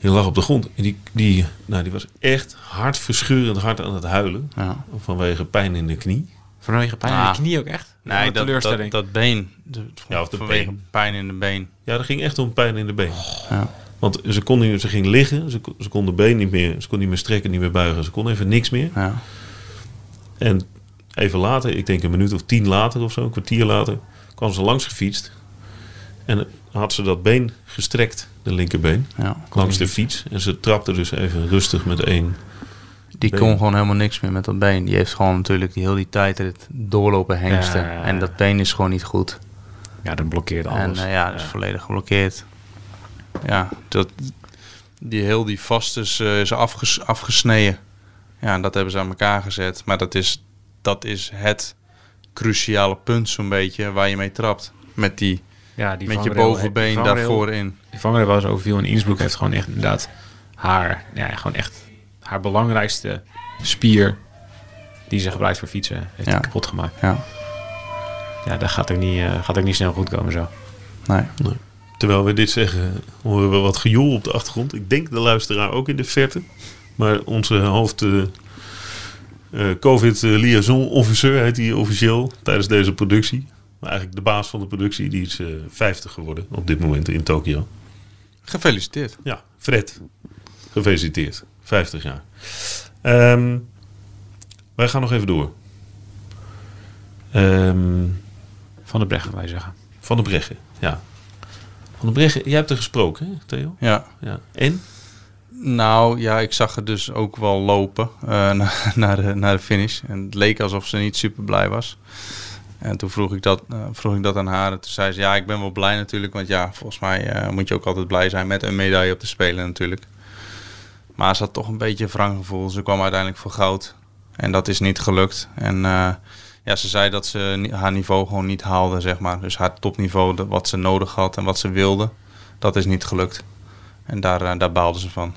Speaker 3: Die lag op de grond. En die, die, nou, die was echt hartverscheurend hard aan het huilen.
Speaker 4: Ja.
Speaker 3: Vanwege pijn in de knie.
Speaker 2: Vanwege pijn in
Speaker 4: Ah.
Speaker 2: de knie ook echt?
Speaker 4: Nee,
Speaker 2: Een
Speaker 4: dat, dat,
Speaker 2: teleurstelling.
Speaker 4: dat been. De,
Speaker 3: Ja, of de
Speaker 4: vanwege
Speaker 3: been.
Speaker 4: pijn in de been.
Speaker 3: Ja, dat ging echt om pijn in de been.
Speaker 4: Ja.
Speaker 3: Want ze, kon niet, ze ging liggen, ze, kon- ze kon de been niet meer, ze kon niet meer strekken, niet meer buigen, ze kon even niks meer.
Speaker 4: Ja.
Speaker 3: En even later, ik denk een minuut of tien later of zo, een kwartier later, kwam ze langs gefietst. En had ze dat been gestrekt, de linkerbeen,
Speaker 4: Ja.
Speaker 3: langs de fiets. En ze trapte dus even rustig met één.
Speaker 4: Die
Speaker 3: Been.
Speaker 4: kon gewoon helemaal niks meer met dat been. Die heeft gewoon natuurlijk die heel die tijd het doorlopen hengsten.
Speaker 2: Ja.
Speaker 4: En dat been is gewoon niet goed.
Speaker 2: Ja, dat blokkeert
Speaker 4: En
Speaker 2: alles.
Speaker 4: eh, ja, dat is volledig geblokkeerd. Ja, dat, die heel die vast is, eh, is afges- afgesneden. Ja, en dat hebben ze aan elkaar gezet. Maar dat is, dat is het cruciale punt zo'n beetje waar je mee trapt. Met, die,
Speaker 2: ja, die
Speaker 4: met je
Speaker 2: vangrail-
Speaker 4: bovenbeen
Speaker 2: die vangrail-
Speaker 4: daarvoor in.
Speaker 2: Die vangrail was overviel in Innsbruck heeft gewoon echt inderdaad haar, ja, gewoon echt haar belangrijkste spier die ze gebruikt voor fietsen, heeft
Speaker 4: Ja.
Speaker 2: die kapot gemaakt.
Speaker 4: Ja,
Speaker 2: Ja, dat gaat ook niet, eh, gaat ook niet snel goed komen zo.
Speaker 4: nee.
Speaker 3: Terwijl we dit zeggen, horen we wat gejoel op de achtergrond. Ik denk de luisteraar ook in de verte. Maar onze hoofd eh, eh, COVID eh, liaison officer heet hij officieel tijdens deze productie. Maar eigenlijk de baas van de productie, die is eh 50 geworden op dit moment in Tokio.
Speaker 4: Gefeliciteerd.
Speaker 3: Ja, Fred. Gefeliciteerd. 50 jaar. Ehm, wij gaan nog even door. Ehm,
Speaker 2: Van de Brecht, wij zeggen.
Speaker 3: van de Breggen, ja. Van de Breggen, jij hebt er gesproken, hè, Theo?
Speaker 4: Ja.
Speaker 3: Ja. En?
Speaker 4: Nou ja, ik zag het dus ook wel lopen eh, na- naar, de, naar de finish. En het leek alsof ze niet super blij was. En toen vroeg ik, dat, eh, vroeg ik dat aan haar. En toen zei ze, ja, ik ben wel blij natuurlijk. Want ja, volgens mij eh, moet je ook altijd blij zijn met een medaille op de Spelen natuurlijk. Maar ze had toch een beetje een wrang gevoel. Ze kwam uiteindelijk voor goud. En dat is niet gelukt. En eh, ja, ze zei dat ze ni- haar niveau gewoon niet haalde, zeg maar. Dus haar topniveau, de- wat ze nodig had en wat ze wilde, dat is niet gelukt. En daar, eh, daar baalde ze van.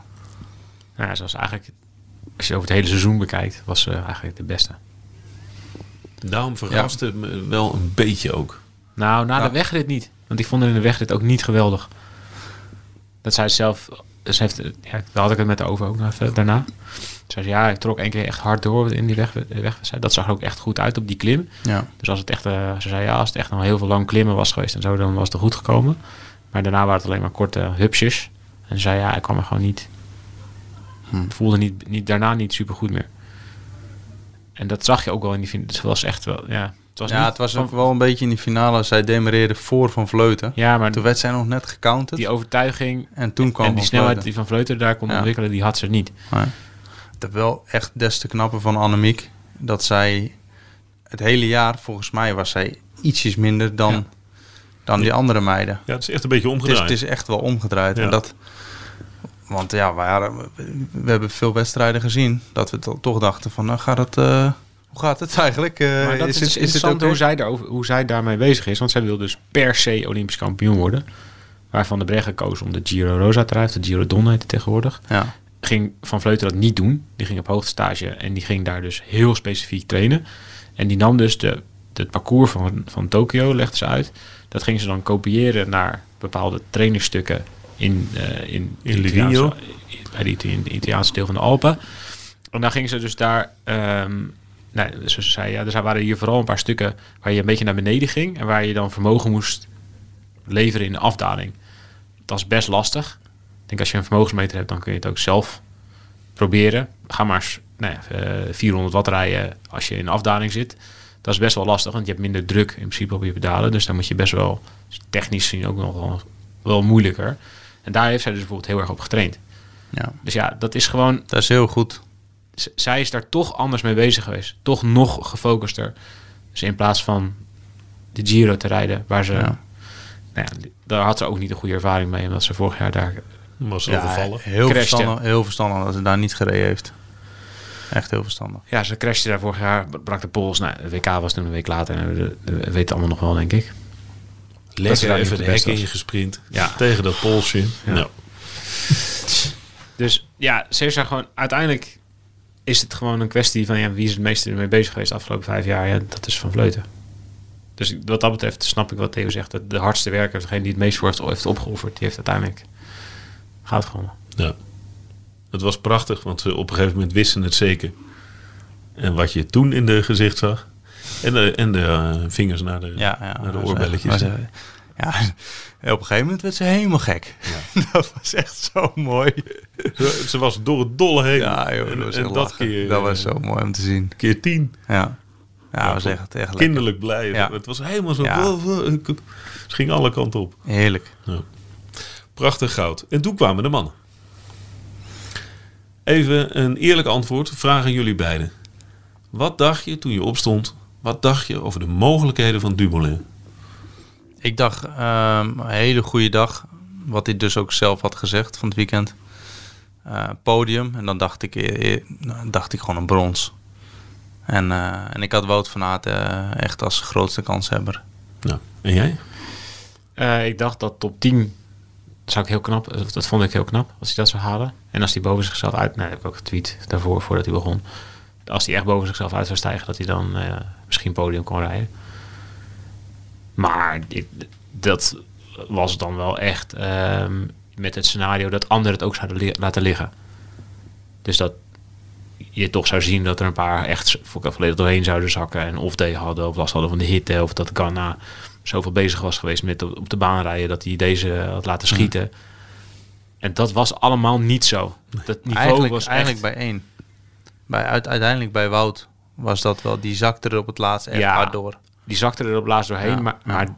Speaker 2: Nou, ja, ze was eigenlijk, als je over het hele seizoen bekijkt, was ze eigenlijk de beste.
Speaker 3: Daarom verraste het me wel een beetje ook.
Speaker 2: Nou, na
Speaker 4: Nou.
Speaker 2: de wegrit niet. Want ik vond haar in de wegrit ook niet geweldig. Dat zij zelf... Ze heeft, ja, daar had ik het met de over ook nog even daarna. Ze zei, ja, ik trok één keer echt hard door in die weg, wegwedstrijd. Dat zag er ook echt goed uit op die klim.
Speaker 4: Ja,
Speaker 2: Dus als het echt... eh, ze zei, ja, als het echt nog heel veel lang klimmen was geweest en zo, dan was het er goed gekomen. Maar daarna waren het alleen maar korte hupsjes. En ze zei, ja, ik kwam er gewoon niet...
Speaker 4: Hm.
Speaker 2: Voelde niet, niet, daarna niet super goed meer. En dat zag je ook wel in die... fin- Het was echt wel... Ja, het was,
Speaker 4: ja
Speaker 2: niet
Speaker 4: het was
Speaker 2: van-
Speaker 4: ook wel een beetje in die finale. Zij demereerde voor Van Vleuten.
Speaker 2: Ja, maar
Speaker 4: Toen werd zij nog net gecounterd.
Speaker 2: die overtuiging
Speaker 4: en toen kwam
Speaker 2: en die
Speaker 4: Van
Speaker 2: snelheid
Speaker 4: Vleuten.
Speaker 2: die Van Vleuten daar kon
Speaker 4: Ja.
Speaker 2: ontwikkelen, die had ze niet.
Speaker 4: Nee. Dat wel echt des te knapper van Annemiek. Dat zij het hele jaar, volgens mij, was zij ietsjes minder dan, dan die andere meiden.
Speaker 3: Ja, het is echt een beetje
Speaker 4: Het is,
Speaker 3: omgedraaid.
Speaker 4: het is echt wel omgedraaid.
Speaker 3: Ja.
Speaker 4: En dat, want ja, we, hadden- we hebben veel wedstrijden gezien. Dat we to- toch dachten van, nou gaat het... eh, hoe gaat het eigenlijk? Eh,
Speaker 2: maar dat is,
Speaker 4: het- het
Speaker 2: interessant
Speaker 4: oké?
Speaker 2: hoe, zij daarover, hoe zij daarmee bezig is. Want zij wil dus per se Olympisch kampioen worden. Waarvan de Breggen koos om de Giro Rosa te rijden. De Giro Don heet het tegenwoordig.
Speaker 4: Ja,
Speaker 2: Ging Van Vleuten dat niet doen. Die ging op hoogtestage en die ging daar dus heel specifiek trainen. En die nam dus de, het parcours van, van Tokio, legde ze uit. Dat ging ze dan kopiëren naar bepaalde trainingsstukken in, eh, in, de
Speaker 3: In
Speaker 2: Italiaanse-
Speaker 3: Livigno.
Speaker 2: bij die- in het Italiaanse deel van de Alpen. En dan ging ze dus daar. ehm nou, ze zei, ja, er zijn- waren hier vooral een paar stukken waar je een beetje naar beneden ging. En waar je dan vermogen moest leveren in de afdaling. Dat is best lastig. Ik denk als je een vermogensmeter hebt, dan kun je het ook zelf proberen. Ga maar eens nou ja, eh, 400 watt rijden als je in de afdaling zit. Dat is best wel lastig, want je hebt minder druk in principe op je pedalen. Dus dan moet je best wel technisch zien ook nog wel, wel moeilijker. En daar heeft zij dus bijvoorbeeld heel erg op getraind.
Speaker 4: Ja,
Speaker 2: Dus ja, dat is gewoon
Speaker 4: dat is heel goed.
Speaker 2: z- zij is daar toch anders mee bezig geweest. Toch nog gefocuster. Dus in plaats van de Giro te rijden, waar ze...
Speaker 4: Ja.
Speaker 2: Nou ja, daar had ze ook niet de goede ervaring mee, omdat ze vorig jaar daar...
Speaker 3: Was
Speaker 4: Ja,
Speaker 3: overvallen.
Speaker 4: heel,
Speaker 2: Crasht,
Speaker 4: verstandig, heel verstandig dat ze daar niet gereden heeft. Echt heel verstandig.
Speaker 2: Ja, ze crashte daar vorig jaar, brak de pols. Nou, de WK was toen een week later en we we weten allemaal nog wel, denk ik. Dat ze
Speaker 3: Lekker
Speaker 2: daar niet op
Speaker 3: even de
Speaker 2: de
Speaker 3: hek
Speaker 2: best was.
Speaker 3: ingesprint.
Speaker 2: Ja.
Speaker 3: Tegen dat polsje. Nou,
Speaker 2: Dus ja, ze is daar gewoon... Uiteindelijk is het gewoon een kwestie van... Ja, wie is het meeste ermee bezig geweest de afgelopen vijf jaar? Ja, dat is Van Vleuten. Dus wat dat betreft snap ik wat Theo zegt. Dat de hardste werker, degene die het meest voor heeft- heeft opgeofferd... die heeft uiteindelijk... Gaat gewoon.
Speaker 3: ja. Het was prachtig, want we op een gegeven moment wisten het zeker. En wat je toen in de gezicht zag. En de, en de eh, vingers naar de,
Speaker 4: Ja, ja
Speaker 3: naar de
Speaker 4: was
Speaker 3: oorbelletjes.
Speaker 4: echt- was echt- ja, en op een gegeven moment werd ze helemaal gek. dat was echt zo mooi.
Speaker 3: Ze ze was door het dolle heen.
Speaker 4: Ja, joh, dat
Speaker 3: en
Speaker 4: was
Speaker 3: en
Speaker 4: echt
Speaker 3: dat
Speaker 4: lachen.
Speaker 3: keer,
Speaker 4: dat
Speaker 3: eh,
Speaker 4: was zo mooi om te zien.
Speaker 3: keer tien.
Speaker 4: Ja, ja, dat was echt, echt lekker.
Speaker 3: Kinderlijk blij.
Speaker 4: Ja.
Speaker 3: Het was helemaal zo.
Speaker 4: Ja.
Speaker 3: Het ging alle kanten op.
Speaker 4: Heerlijk.
Speaker 3: Prachtig goud. En toen kwamen de mannen. Even een eerlijk antwoord. Vraag aan jullie beiden. Wat dacht je toen je opstond? Wat dacht je over de mogelijkheden van Dumoulin?
Speaker 4: Ik dacht, ehm, een hele goede dag. Wat hij dus ook zelf had gezegd van het weekend. Eh, podium. En dan dacht ik, eh, eh, nou, dacht ik gewoon een brons. En, eh, en ik had Wout van Aert eh, echt als grootste kanshebber.
Speaker 3: Nou, en jij?
Speaker 2: Eh, ik dacht dat top 10 zou ik heel knap. eh, Dat vond ik heel knap als hij dat zou halen. En als hij boven zichzelf uit. Nee, dat heb ik ook getweet daarvoor voordat hij begon. Als hij echt boven zichzelf uit zou stijgen, dat hij dan eh, misschien podium kon rijden. Maar dit- dat was dan wel echt ehm, met het scenario dat anderen het ook zouden li- laten liggen. Dus dat je toch zou zien dat er een paar echt vo- volledig doorheen zouden zakken. En of day hadden, of last hadden van de hitte. Of dat Ghana zoveel bezig was geweest met op op de baan rijden dat hij deze had
Speaker 4: Mm.
Speaker 2: laten schieten. En dat was allemaal niet zo. Dat niveau
Speaker 4: Eigenlijk,
Speaker 2: was
Speaker 4: eigenlijk
Speaker 2: echt...
Speaker 4: bij één. Bij, uit- uiteindelijk bij Wout was dat wel. Die zakte er op het laatst echt
Speaker 2: Ja.
Speaker 4: hard door.
Speaker 2: Die zakte er op laatst doorheen.
Speaker 4: Ja,
Speaker 2: Maar, maar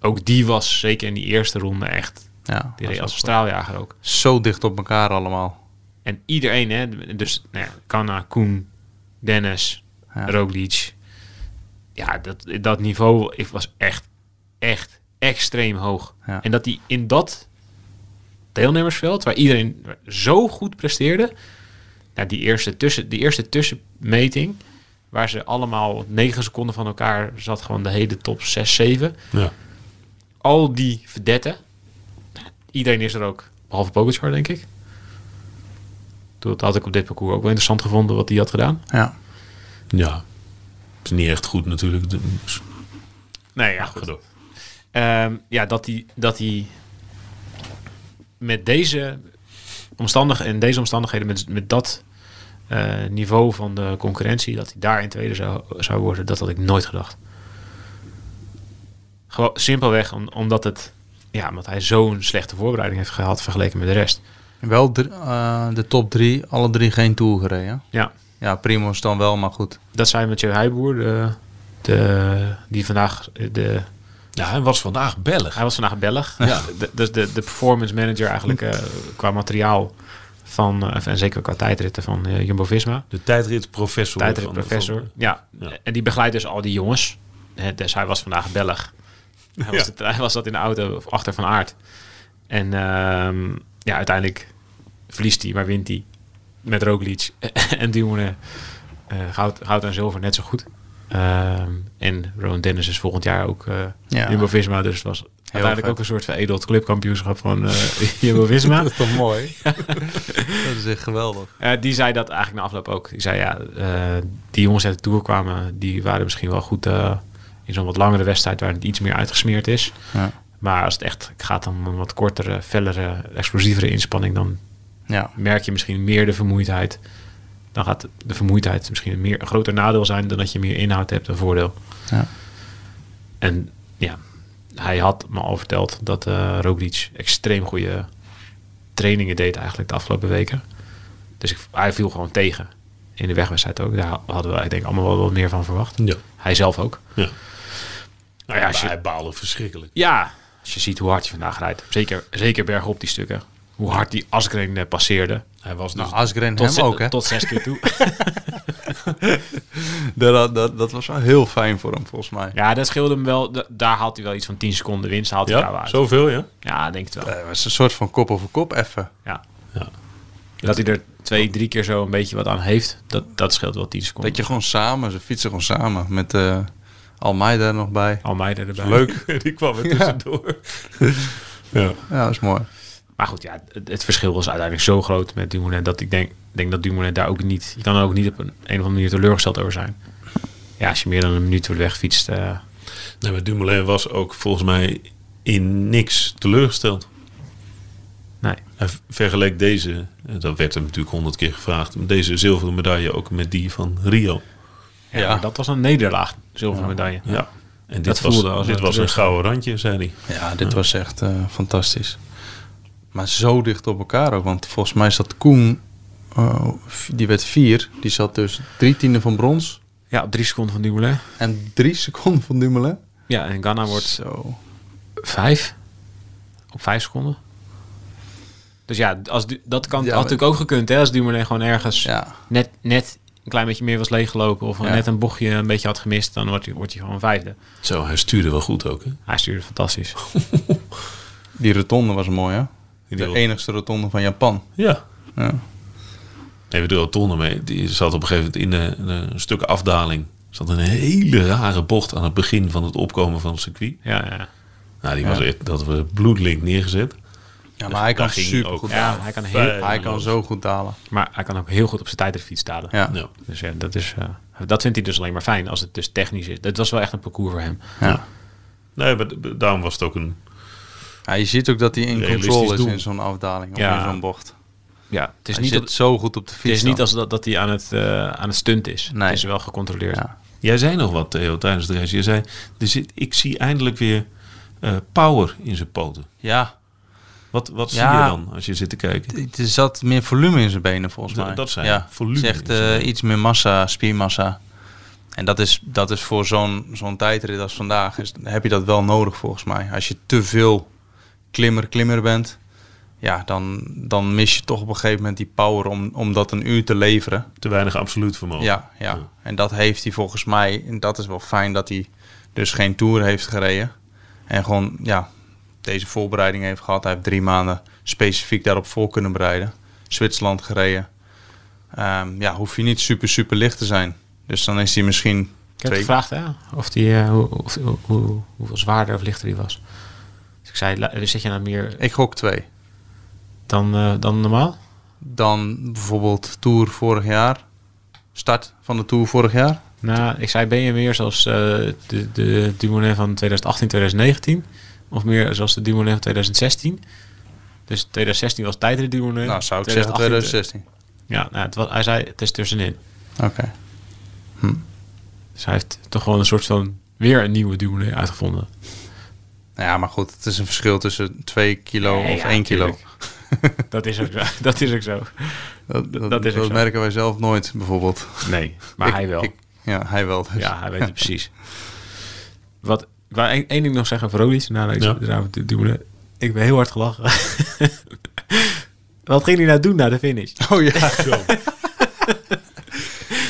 Speaker 2: ook die was zeker in die eerste ronde echt.
Speaker 4: Ja,
Speaker 2: Die
Speaker 4: was
Speaker 2: reed als een
Speaker 4: ook
Speaker 2: straaljager ook.
Speaker 4: zo dicht op elkaar allemaal.
Speaker 2: En iedereen, hè, dus nou ja, Kanna, Koen, Dennis,
Speaker 4: Ja.
Speaker 2: Roglic. Ja, dat, dat niveau ik was echt, echt extreem hoog.
Speaker 4: Ja.
Speaker 2: En dat die in dat deelnemersveld, waar iedereen zo goed presteerde. Nou, die, eerste tussen, die eerste tussenmeting, waar ze allemaal negen seconden van elkaar zat, gewoon de hele top 6, 7.
Speaker 3: Ja.
Speaker 2: Al die verdetten. Iedereen is er ook, behalve Pogacar, denk ik. Toen- Dat had ik op dit parcours ook wel interessant gevonden wat hij had gedaan.
Speaker 4: Ja.
Speaker 3: Ja. Het is niet echt goed natuurlijk. De-
Speaker 2: Nee, ja,
Speaker 3: Ga door.
Speaker 2: Ehm, ja, dat hij dat die met deze omstandigheden, in deze omstandigheden, met, met dat eh, niveau van de concurrentie, dat hij daar in tweede zou, zou worden, dat had ik nooit gedacht. Gewoon simpelweg om- omdat het, ja, omdat hij zo'n slechte voorbereiding heeft gehad vergeleken met de rest.
Speaker 4: Wel dr- eh, de top drie, alle drie geen Tour gereden.
Speaker 2: Ja,
Speaker 4: Ja, Primoz dan wel, maar goed.
Speaker 2: dat zei Mathieu Heijboer, de, de, die vandaag de
Speaker 3: Ja, hij was vandaag Belg.
Speaker 2: Hij was vandaag Belg. Ja. Dus de, de performance manager eigenlijk eh, qua materiaal van, eh, en zeker qua tijdritten van eh, Jumbo-Visma.
Speaker 3: De tijdritprofessor. van-
Speaker 2: Tijdritprofessor.
Speaker 3: van-
Speaker 2: Ja.
Speaker 3: Ja.
Speaker 2: en die begeleidt dus al die jongens. Hè, Dus hij was vandaag Belg. Hij, was,
Speaker 3: Ja.
Speaker 2: het- hij was dat in de auto achter Van Aert. En ehm, ja, uiteindelijk verliest hij, maar wint hij met Roglic en Dumoulin eh, goud, goud en zilver net zo goed. Ehm, en Rowan Dennis is volgend jaar ook eh
Speaker 4: Ja.
Speaker 2: Jumbo-Visma, dus het was uiteindelijk
Speaker 4: vet.
Speaker 2: ook een soort veredeld clubkampioenschap van eh, Jumbo-Visma.
Speaker 4: is toch mooi? dat is echt geweldig.
Speaker 2: Eh, die zei dat eigenlijk na afloop ook. Die zei ja, eh, die jongens uit de Tour kwamen, die waren misschien wel goed eh, in zo'n wat langere wedstrijd waar het iets meer uitgesmeerd is.
Speaker 4: Ja.
Speaker 2: Maar als het echt gaat om een wat kortere, fellere, explosievere inspanning, dan
Speaker 4: Ja,
Speaker 2: merk je misschien meer de vermoeidheid. Dan gaat de vermoeidheid misschien een, meer, een groter nadeel zijn dan dat je meer inhoud hebt, een voordeel.
Speaker 4: Ja.
Speaker 2: En ja, hij had me al verteld dat eh Roglic extreem goede trainingen deed eigenlijk de afgelopen weken. Dus ik, hij viel gewoon tegen. In de wegwedstrijd ook. Daar hadden we, ik denk, allemaal wel wat meer van verwacht.
Speaker 3: Ja.
Speaker 2: Hij zelf ook.
Speaker 3: Ja.
Speaker 2: Nou ja, als je-
Speaker 3: Hij baalde verschrikkelijk.
Speaker 2: ja, als Als je ziet hoe hard je vandaag rijdt. Zeker, zeker bergop die stukken. Hoe hard die Asgren eh, passeerde.
Speaker 3: Hij was dus
Speaker 4: Nou, Asgren
Speaker 2: Tot,
Speaker 4: hem
Speaker 2: ze-
Speaker 4: ook, hè?
Speaker 2: tot zes keer toe.
Speaker 4: Dat, dat, dat was wel heel fijn voor hem, volgens mij.
Speaker 2: ja, dat scheelde hem wel. Da- daar haalt hij wel iets van 10 seconden winst. Haalt hij daar wel
Speaker 3: ja,
Speaker 2: uit.
Speaker 3: zoveel, ja.
Speaker 2: Ja, denk het wel.
Speaker 4: Eh, Het was een soort van kop over kop effen.
Speaker 2: Ja. Dat hij er twee, drie keer zo een beetje wat aan heeft, dat, dat scheelt wel 10 seconden.
Speaker 4: Dat je gewoon samen, ze fietsen gewoon samen. Met eh Almeida er nog bij.
Speaker 2: Almeida erbij.
Speaker 4: Leuk.
Speaker 3: Die kwam er tussendoor. ja.
Speaker 4: Ja, dat is mooi.
Speaker 2: Maar goed, ja, het, het verschil was uiteindelijk zo groot met Dumoulin dat ik denk, denk dat Dumoulin daar ook niet... Je kan er ook niet op een, een of andere manier teleurgesteld over zijn. Ja, als je meer dan een minuut wordt wegfietst... eh,
Speaker 3: Nee, maar Dumoulin was ook volgens mij in niks teleurgesteld.
Speaker 2: nee.
Speaker 3: Hij vergeleek Nou, deze, en dat werd hem natuurlijk honderd keer gevraagd, maar deze zilveren medaille ook met die van Rio.
Speaker 2: Ja,
Speaker 4: Ja.
Speaker 2: maar dat was een nederlaag, zilveren medaille.
Speaker 3: Ja. En dit
Speaker 2: Dat
Speaker 3: was,
Speaker 2: voelde als
Speaker 3: dit
Speaker 2: een
Speaker 3: was een
Speaker 2: teleurstelling.
Speaker 3: gouden randje, zei hij.
Speaker 4: Ja, dit was echt eh, fantastisch. Maar zo dicht op elkaar ook. Want volgens mij zat Koen, eh, v- die werd vier. Die zat dus drie tiende van brons
Speaker 2: Ja, op drie seconden van Dumoulin.
Speaker 4: en drie seconden van Dumoulin.
Speaker 2: Ja, en Ghana wordt
Speaker 4: Zo.
Speaker 2: vijf. Op vijf seconden. Dus ja, als, Du- dat kan,
Speaker 4: Ja,
Speaker 2: had
Speaker 4: maar-
Speaker 2: natuurlijk ook gekund, hè? Als Dumoulin gewoon ergens...
Speaker 4: Ja.
Speaker 2: net, net een klein beetje meer was leeggelopen of
Speaker 4: Ja.
Speaker 2: net een bochtje een beetje had gemist, dan wordt hij, wordt hij gewoon vijfde.
Speaker 3: Zo, hij stuurde wel goed ook, hè?
Speaker 2: Hij stuurde fantastisch.
Speaker 4: Die rotonde was mooi, hè? De
Speaker 3: wil-
Speaker 4: enigste rotonde van Japan.
Speaker 3: Ja.
Speaker 4: Ja.
Speaker 3: Nee, we doen al tonnen mee. Die zat op een gegeven moment in een, een stuk afdaling. Zat een hele rare bocht aan het begin van het opkomen van het circuit.
Speaker 2: Ja, ja.
Speaker 3: Nou, die was echt, dat we bloedlink neergezet.
Speaker 2: Dus
Speaker 4: Ja, maar hij kan
Speaker 3: Daar ging
Speaker 4: super
Speaker 3: ook-
Speaker 4: goed dalen.
Speaker 2: ja eh, hij, kan heel,
Speaker 4: Hij kan zo goed dalen.
Speaker 2: maar hij kan ook heel goed op zijn tijdritfiets dalen.
Speaker 4: Ja.
Speaker 3: Ja.
Speaker 2: Dus ja, dat, is, eh, dat vindt hij dus alleen maar fijn als het dus technisch is. Dat was wel echt een parcours voor hem.
Speaker 4: Ja.
Speaker 3: Nee, maar d- daarom was het ook een...
Speaker 4: Ja, je ziet ook dat hij in
Speaker 3: Realistisch
Speaker 4: controle is
Speaker 3: doel.
Speaker 4: in zo'n afdaling of
Speaker 2: Ja.
Speaker 4: in zo'n bocht.
Speaker 2: Ja, het is
Speaker 4: hij
Speaker 2: niet,
Speaker 4: zit
Speaker 2: dat,
Speaker 4: zo goed op de
Speaker 2: het
Speaker 4: fiets.
Speaker 2: is niet
Speaker 4: dan.
Speaker 2: als dat, dat hij aan het, eh, aan het stunt is.
Speaker 4: Nee.
Speaker 2: Het is wel gecontroleerd.
Speaker 4: Ja.
Speaker 3: Jij zei nog wat, Theo, tijdens de race. Je zei, er zit, ik zie eindelijk weer eh, power in zijn poten.
Speaker 4: Ja,
Speaker 3: Wat, wat zie
Speaker 4: Ja.
Speaker 3: je dan als je zit te kijken?
Speaker 4: d- er zat meer volume in zijn benen volgens
Speaker 3: Dat-
Speaker 4: mij.
Speaker 3: dat zei
Speaker 4: ja.
Speaker 3: hij, volume
Speaker 4: Het is
Speaker 3: in
Speaker 4: echt
Speaker 3: zijn
Speaker 4: eh,
Speaker 3: benen.
Speaker 4: iets meer massa, spiermassa. En dat is, dat is voor zo'n zo'n tijdrit als vandaag, is, heb je dat wel nodig volgens mij. Als je te veel klimmer-klimmer bent, ja, dan, dan mis je toch op een gegeven moment die power om, om dat een uur te leveren.
Speaker 3: Te weinig absoluut vermogen.
Speaker 4: Ja, ja,
Speaker 3: Ja.
Speaker 4: en dat heeft hij volgens mij. En dat is wel fijn dat hij dus geen tour heeft gereden. En gewoon ja, deze voorbereiding heeft gehad. Hij heeft drie maanden specifiek daarop voor kunnen bereiden. Zwitserland gereden. Ehm, ja, hoef je niet super, super licht te zijn. Dus dan is hij misschien
Speaker 2: Ik heb
Speaker 4: twee-
Speaker 2: gevraagd hè, of die, eh, hoe, of- hoe, hoe, hoeveel zwaarder of lichter die was. Dus ik zei, lu- zit je nou meer
Speaker 4: Ik gok twee.
Speaker 2: dan, eh, dan normaal?
Speaker 4: Dan bijvoorbeeld Tour vorig jaar. Start van de Tour vorig jaar.
Speaker 2: Nou, ik zei, ben je meer zoals eh, de, de Dumoulin van 2018, 2019? Of meer zoals de Dumoulin van 2016? Dus 2016 was tijdrit Dumoulin.
Speaker 4: nou, zou ik zeggen 2016.
Speaker 2: Ja, nou, het was, hij zei, het is tussenin.
Speaker 4: Oké.
Speaker 2: Dus hij heeft toch gewoon een soort van weer een nieuwe Dumoulin uitgevonden.
Speaker 4: Nou ja, maar goed, het is een verschil tussen 2 kilo
Speaker 2: Nee,
Speaker 4: of
Speaker 2: ja,
Speaker 4: 1 kilo.
Speaker 2: Dat is ook zo. Dat is ook zo.
Speaker 4: Dat, dat,
Speaker 2: dat is ook
Speaker 4: dat
Speaker 2: zo.
Speaker 4: merken wij zelf nooit, bijvoorbeeld.
Speaker 2: Nee, maar
Speaker 4: Ik-
Speaker 2: hij wel.
Speaker 4: ik- ja, hij wel. dus.
Speaker 2: Ja, hij weet het precies. Wat, waar één, één ding nog zeggen voor Roglic, na deze
Speaker 3: Ja.
Speaker 2: ja. Dumoulin. Ik ben heel hard gelachen. Wat ging hij nou doen na de finish?
Speaker 4: Oh ja.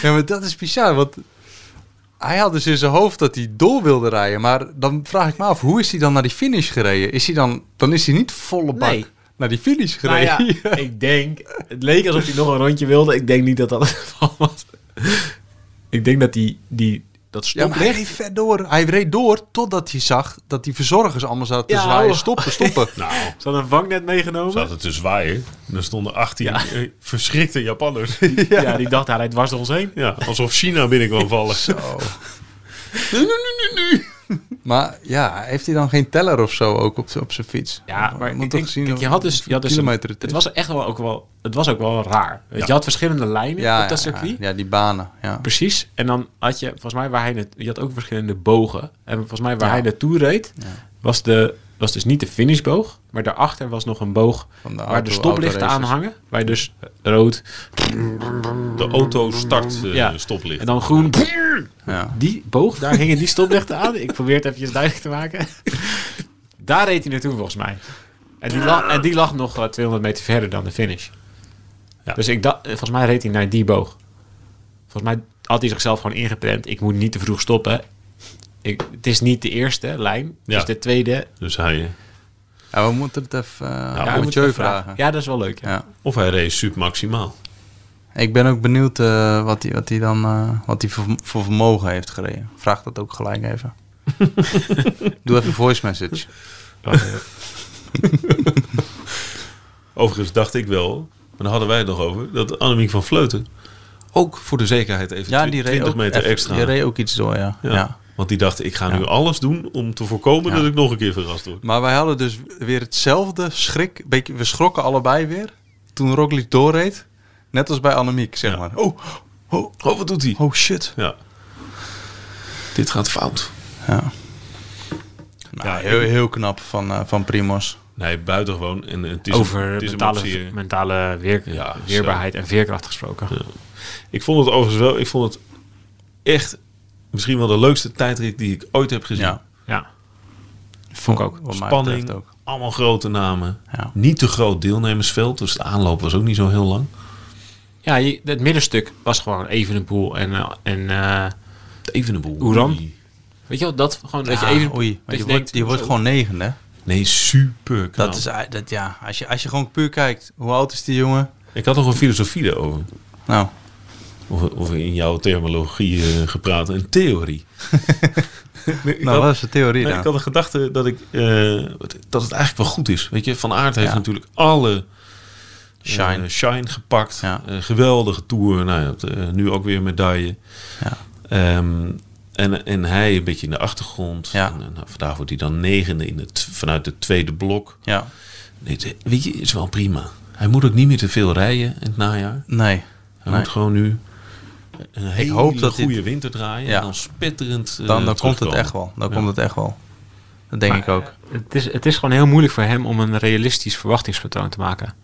Speaker 4: ja, maar dat is bizar, want hij had dus in zijn hoofd dat hij door wilde rijden. Maar dan vraag ik me af, hoe is hij dan naar die finish gereden? Is hij dan, dan is hij niet volle bak
Speaker 2: Nee.
Speaker 4: naar die finish
Speaker 2: Nou
Speaker 4: gereden.
Speaker 2: ja, ik denk... Het leek alsof hij nog een rondje wilde. Ik denk niet dat dat het geval was. Ik denk dat die, die, dat
Speaker 4: Ja, maar hij
Speaker 2: stoplicht...
Speaker 4: reed ver door. Hij reed door totdat hij zag dat die verzorgers allemaal zaten te
Speaker 2: Ja, oh.
Speaker 4: zwaaien.
Speaker 2: hoor.
Speaker 4: Stoppen, stoppen.
Speaker 3: Nou,
Speaker 2: Ze hadden een vangnet meegenomen.
Speaker 3: zat het te zwaaien. En er stonden 18 eh, verschrikte Japanners.
Speaker 2: ja. die dacht, nou, hij rijdt dwars door ons heen.
Speaker 3: ja, alsof China binnen kwam vallen.
Speaker 4: Maar ja, heeft hij dan geen teller of zo ook op, z'n- op zijn fiets?
Speaker 2: Ja,
Speaker 4: Je
Speaker 2: maar
Speaker 4: moet
Speaker 2: ik
Speaker 4: toch
Speaker 2: denk,
Speaker 4: zien
Speaker 2: kijk, je
Speaker 4: hoe-
Speaker 2: had dus, je had
Speaker 4: hoeveel
Speaker 2: dus een-
Speaker 4: kilometer het
Speaker 2: het
Speaker 4: is.
Speaker 2: was echt wel ook wel, het was ook wel raar. Want Je had verschillende lijnen
Speaker 4: ja,
Speaker 2: op dat
Speaker 4: ja,
Speaker 2: circuit.
Speaker 4: Ja, die banen. Ja.
Speaker 2: Precies. En dan had je, volgens mij, waar hij net, je had ook verschillende bogen. En volgens mij, waar
Speaker 4: Ja.
Speaker 2: hij naartoe reed, was, de, was dus niet de finishboog. Maar daarachter was nog een boog
Speaker 4: Van de
Speaker 2: waar
Speaker 4: auto-
Speaker 2: de stoplichten aan
Speaker 4: autoraces.
Speaker 2: hangen. Waar je dus rood
Speaker 3: De auto start eh,
Speaker 2: Ja.
Speaker 3: stoplicht.
Speaker 2: en dan groen.
Speaker 4: Ja.
Speaker 2: Die boog, daar hingen die stoplichten aan. Ik probeer het eventjes duidelijk te maken. Daar reed hij naartoe volgens mij. En die, la- en die lag nog eh, 200 meter verder dan de finish.
Speaker 3: Ja.
Speaker 2: Dus ik dacht, eh, volgens mij reed hij naar die boog. Volgens mij had hij zichzelf gewoon ingepland. Ik moet niet te vroeg stoppen. Ik, het is niet de eerste lijn. Het
Speaker 3: Ja.
Speaker 2: is de tweede.
Speaker 3: Dus hij, eh,
Speaker 4: Ja, we moeten het even eh, aan
Speaker 2: we
Speaker 4: Mathieu
Speaker 2: moeten wel
Speaker 4: vragen.
Speaker 2: Ja, dat is wel leuk. Ja.
Speaker 4: Ja.
Speaker 3: of hij race submaximaal.
Speaker 4: Ik ben ook benieuwd eh, wat hij wat hij dan eh, wat hij voor, voor vermogen heeft gereden. Vraag dat ook gelijk even. Doe even een voice message. Oh,
Speaker 3: Overigens dacht ik wel, maar daar hadden wij het nog over, dat Annemiek van Vleuten ook voor de zekerheid even
Speaker 4: Ja,
Speaker 3: twi-
Speaker 4: die reed
Speaker 3: 20
Speaker 4: ook,
Speaker 3: meter
Speaker 4: even-
Speaker 3: extra.
Speaker 4: Die reed ook iets door, ja.
Speaker 3: ja.
Speaker 4: ja.
Speaker 3: Want die dacht, ik ga nu alles doen om te voorkomen
Speaker 4: Ja.
Speaker 3: dat ik nog een keer verrast word.
Speaker 4: Maar wij hadden dus weer hetzelfde schrik. Beetje, we schrokken allebei weer toen Roglic doorreed. Net als bij Annemiek, zeg
Speaker 3: Ja.
Speaker 4: maar. Oh,
Speaker 3: Oh, oh, wat doet hij?
Speaker 4: oh shit.
Speaker 3: Ja. Dit gaat fout.
Speaker 4: Ja. Nou,
Speaker 3: Ja,
Speaker 4: heel, heel knap van, eh van Primos.
Speaker 3: Nee, buitengewoon. En het is een,
Speaker 2: Over
Speaker 3: het is een optie,
Speaker 2: mentale,
Speaker 3: eh.
Speaker 2: mentale weer-
Speaker 3: Ja, zo.
Speaker 2: weerbaarheid en veerkracht gesproken.
Speaker 3: Ik vond het overigens wel, ik vond het echt misschien wel de leukste tijdrit die ik ooit heb gezien.
Speaker 4: Ja.
Speaker 2: Ja.
Speaker 4: Vond
Speaker 2: ik ook.
Speaker 4: Wat mij
Speaker 3: Spanning,
Speaker 4: betreft ook.
Speaker 3: allemaal grote namen.
Speaker 4: Ja.
Speaker 3: Niet te groot deelnemersveld, dus de aanloop was ook niet zo heel lang.
Speaker 2: Ja, je- het middenstuk was gewoon even een boel. En, eh, en eh,
Speaker 3: Even een boel.
Speaker 2: Hoe dan? weet je wel, dat gewoon dat je
Speaker 4: Ja,
Speaker 2: even...
Speaker 4: oei,
Speaker 2: dat
Speaker 4: maar
Speaker 2: je
Speaker 4: je
Speaker 2: denkt,
Speaker 4: wordt, je wordt
Speaker 2: zo.
Speaker 4: gewoon negen, hè?
Speaker 3: Nee, super knap.
Speaker 4: Dat is, ei- dat, ja, als je, als je gewoon puur kijkt, hoe oud is die jongen?
Speaker 3: Ik had nog een filosofie daarover.
Speaker 4: Nou,
Speaker 3: Of, of in jouw terminologie eh, gepraat, een theorie. Nee, ik
Speaker 4: nou
Speaker 3: had-
Speaker 4: wat is de theorie
Speaker 3: Nee,
Speaker 4: dan?
Speaker 3: ik had de gedachte dat, ik, eh, dat het eigenlijk wel goed is. Weet je, Van Aert heeft
Speaker 4: Ja.
Speaker 3: natuurlijk alle eh,
Speaker 4: Shine.
Speaker 3: shine gepakt.
Speaker 4: Ja.
Speaker 3: Eh, geweldige tour. Nou, ja, dat, eh, nu ook weer medaille.
Speaker 4: Ja.
Speaker 3: Ehm, en, en hij een beetje in de achtergrond.
Speaker 4: Ja.
Speaker 3: En, eh, nou, vandaag wordt hij dan negende in het, vanuit het tweede blok.
Speaker 4: Ja,
Speaker 3: Nee, het- weet je, is wel prima. Hij moet ook niet meer te veel rijden in het najaar.
Speaker 4: nee.
Speaker 3: Hij
Speaker 4: Nee.
Speaker 3: moet gewoon nu een hele
Speaker 4: hoop dat dit-
Speaker 3: goede winter draaien.
Speaker 4: Ja.
Speaker 3: En dan spetterend eh,
Speaker 4: Dan, dan komt het
Speaker 3: terugkomen.
Speaker 4: echt wel. Dan komt het echt wel. Dat denk
Speaker 2: Maar, eh,
Speaker 4: ik ook.
Speaker 2: Het is, het is gewoon heel moeilijk voor hem om een realistisch verwachtingspatroon te maken.